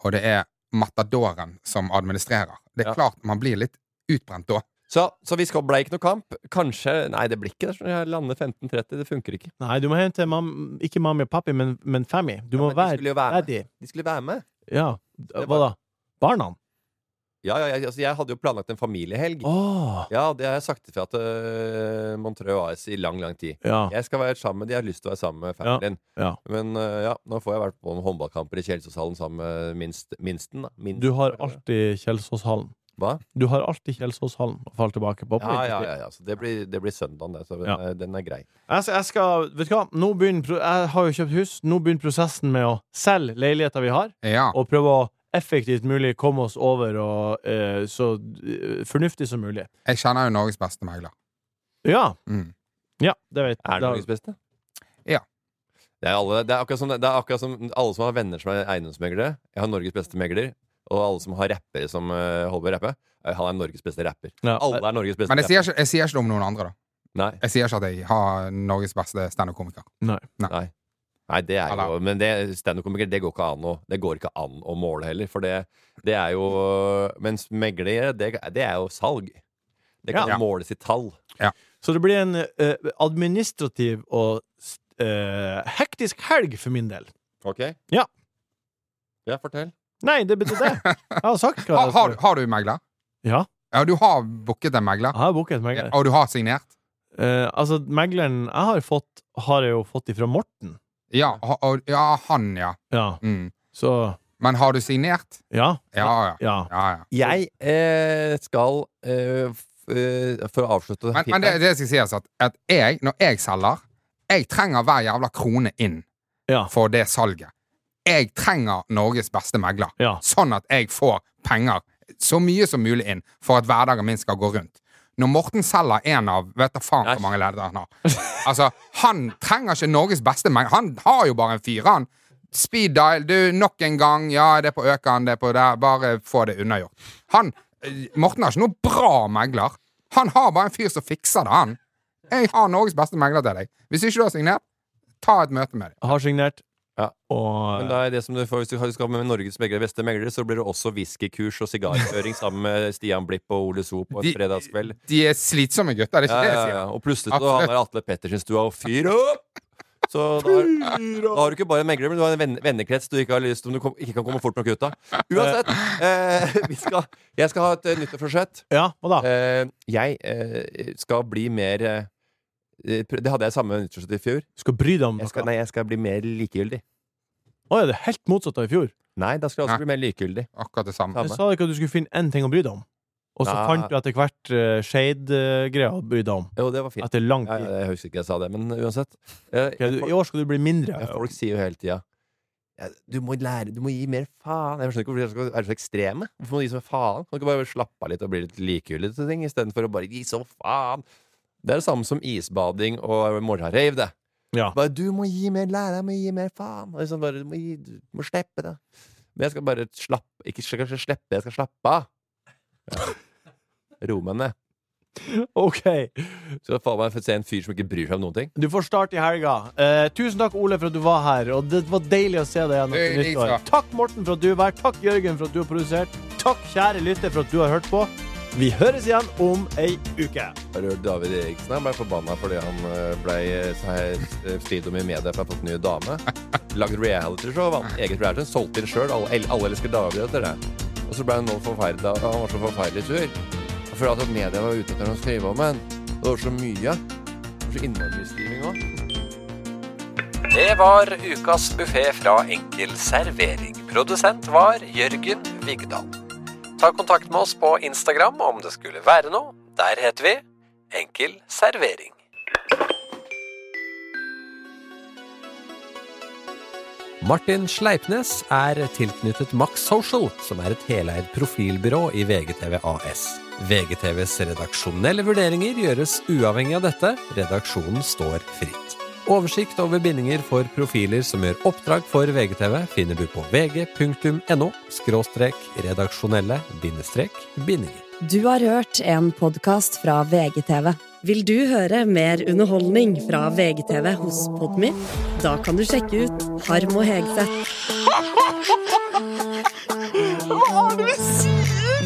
og det er Matadoren som administrerer Det er
Ja.
klart man blir litt utbrent da.
så, så vi skal ble ikke noe kamp. Kanskje Nei, det blir ikke det. så Jeg lander 15.30. Det funker ikke.
Nei, du må hjem til mam, ikke mammi og pappi, men, men fammy. Du må
men de
være
skulle jo være med.
daddy.
De skulle være med.
Ja.
var-
Hva da? Barna?
Ja, ja, jeg, altså, jeg hadde jo planlagt en familiehelg.
Åh
Ja, det har jeg sagt ifra til øh, Montreux AS i lang, lang tid.
Ja.
Jeg skal være sammen med de jeg har lyst til å være sammen med familien.
Ja,
Men øh, ja, nå får jeg vært på noen håndballkamper i Kjelsåshallen sammen med minst, minsten. Da. Minst,
Du har alltid Kjelsåshallen.
Hva?
Du har alltid Kjelsåshallen å falle tilbake på. på
Ja, ja,
riktig.
ja, ja. Så det blir, det blir søndagen, det. Så den,
Ja.
er, den er grei.
Jeg, skal- Altså, jeg skal Vet du hva? Nå begynner, pro- jeg har jo kjøpt hus. Nå begynner prosessen med å selge leiligheter vi har,
Ja.
og prøve å effektivt mulig komme oss over og eh, så eh, fornuftig som mulig.
Jeg kjenner jo Norges beste megler.
Ja.
Mm.
Ja, det vet
Er det
da-
liksom-
Norges beste?
Ja.
Det er, alle, det, er akkurat som, det er akkurat som alle som har venner som er eiendomsmeglere. Jeg har Norges beste megler. Og alle som har rappere som øh, holder på å rappe. eh, Han er Norges beste rapper.
Ja.
Alle er Norges beste
Men jeg
rapper.
sier, ikke, jeg sier ikke det om noen andre, da.
Nei.
Jeg sier ikke at jeg har Norges beste standup-komiker.
Nei.
Nei, det er
Eller-
jo Men det- standup-komiker, det går ikke an å Det går ikke an å måle heller, for det, det er jo Mens meglere, det, det er jo salg. Det kan
Ja.
måles i tall.
Så det blir en eh, administrativ og eh, hektisk helg for min del.
Ok?
Ja.
Ja, fortell.
Nei, det betyr det. Jeg har sagt hva
Har,
jeg
har,
skal-
har du megler?
Ja,
Ja, du har booket en Ah, megler?
jeg har booket meg.
Og du har signert?
Eh, altså, megleren jeg har fått, har jeg jo fått ifra Morten.
Ja, ha- og, ja han, ja.
Ja,
Mm.
så
Men har du signert?
Ja.
Ja, ja.
ja.
ja, ja.
Jeg eh, skal eh, f- eh, For å avslutte
Men, men det, det skal sies at, at jeg, når jeg selger, jeg trenger hver jævla krone inn
Ja.
for det salget. Jeg trenger Norges beste megler,
Ja.
sånn at jeg får penger så mye som mulig inn for at hverdagen min skal gå rundt. Når Morten selger en av Vet da faen hvor
Nei.
mange ledere han har. Altså, Han trenger ikke Norges beste megler. Han har jo bare en fyr, han. Speed dial, du, nok en gang. Ja, det er på Økern, det er på der. Bare få det unnagjort. Han eh, Morten har ikke noen bra megler. Han har bare en fyr som fikser det, han. Jeg har Norges beste megler til deg. Hvis ikke du har signert, ta et møte med dem.
Jeg har signert.
Ja. Men
Og
da er det som du får, Hvis du skal med Norges meglere, beste meglere, så blir det også whiskykurs og sigarføring sammen med Stian Blipp og Ole So på en
De-
fredagskveld.
De er slitsomme gutter, det er
Ja,
ikke det
ja,
jeg
ja.
sier.
Og plutselig så han der Atle Pettersen stua og fyr opp! Så da har, da har du ikke bare en megler, men du har en venn- vennekrets du ikke har lyst om du kom, ikke kan komme fort nok ut av. Uansett, eh, vi skal, jeg skal ha et eh, nyttårsforsett.
Ja, hva da?
Eh, jeg eh, skal bli mer eh, eh, pr- Det hadde jeg samme nyttårsett i fjor.
Du skal bry deg om
Jeg skal,
noe.
nei, jeg skal bli mer likegyldig.
Å ja, det er helt motsatt av i fjor.
Nei, da skal jeg også
Nei.
bli mer likegyldig.
Akkurat det samme.
Samme.
Jeg sa ikke at du skulle finne én ting å bry deg om. Og så
Nei.
fant du etter hvert uh, shade-greia å bry deg om.
Jo, det var fint.
Etter lang
Ja,
tid.
ja, jeg husker ikke jeg sa det, men uansett. Eh,
Ok, du, I år skal du bli mindre.
Ja, folk sier jo hele tida ja, du må lære, du må gi mer faen. Jeg skjønner ikke hvorfor de skal være så ekstreme. Hvorfor må de gi så faen? Kan du ikke bare slappe av litt og bli litt likegyldig til ting, istedenfor å bare gi så faen? Det er det samme som isbading og morgenrave, det.
Ja.
Bare, du må gi mer, lære deg å gi mer faen. Og Liksom bare, du, må gi, du må slippe det. Men jeg skal bare slappe Ikke skal kanskje slippe, jeg skal slappe av. Ja. Roe meg ned.
Ok.
Så faen meg se en fyr som ikke bryr seg om noen ting.
Du får start i helga. Eh, tusen takk, Ole, for at du var her. Og det var deilig å se deg igjen etter
Det er like
nyttår.
bra.
Takk, Morten, for at du var her. Takk, Jørgen, for at du har produsert. Takk, kjære lytter, for at du har hørt på. Vi høres igjen om ei uke.
Har du hørt David Eriksen? Han ble forbanna fordi han eh, ble eh, så her, eh, strid om i media for å ha fått en ny dame. Lagd realityshow, vant eget realityshow, solgte inn sjøl. Alle, el- alle elsker David etter det. Og så ble han nå forferda, og han var så forferdelig sur. Og Fordi at media var ute etter å skrive om ham. Og det var så mye. Det var så innmari skriving òg.
Det var ukas buffé fra Enkel servering. Produsent var Jørgen Vigdal. Ta kontakt med oss på Instagram om det skulle være noe. Der heter vi Enkel servering. Martin Sleipnes er tilknyttet Max Social, som er et heleid profilbyrå i VGTV AS. VGTVs redaksjonelle vurderinger gjøres uavhengig av dette. Redaksjonen står fritt. Oversikt over bindinger for profiler som gjør oppdrag for VGTV, finner du på vg.no redaksjonelle bindinger.
Du har hørt en podkast fra VGTV.
Vil du høre mer underholdning fra VGTV hos Podmy? Da kan du sjekke ut Harm og Hegseth.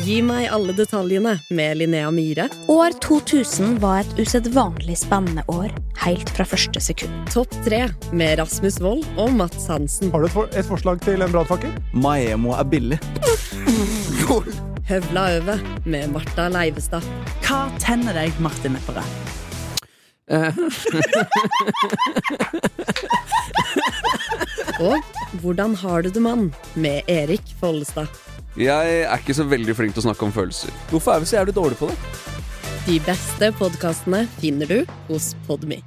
Gi meg alle detaljene med Linnea Myhre.
År 2000 var et usedvanlig spennende år, helt fra første sekund.
Topp tre med Rasmus Wold og Mats Hansen.
Har du et, for et forslag til en brannfakkel? Maemo er billig.
Høvla over med Marta Leivestad.
Hva tenner deg, Martin Lepperød?
Eh. Og Hvordan har du det, mann? med Erik Follestad.
Jeg er ikke så veldig flink til å snakke om følelser. Hvorfor er vi så jævlig dårlige på det?
De beste podkastene finner du hos Podmy.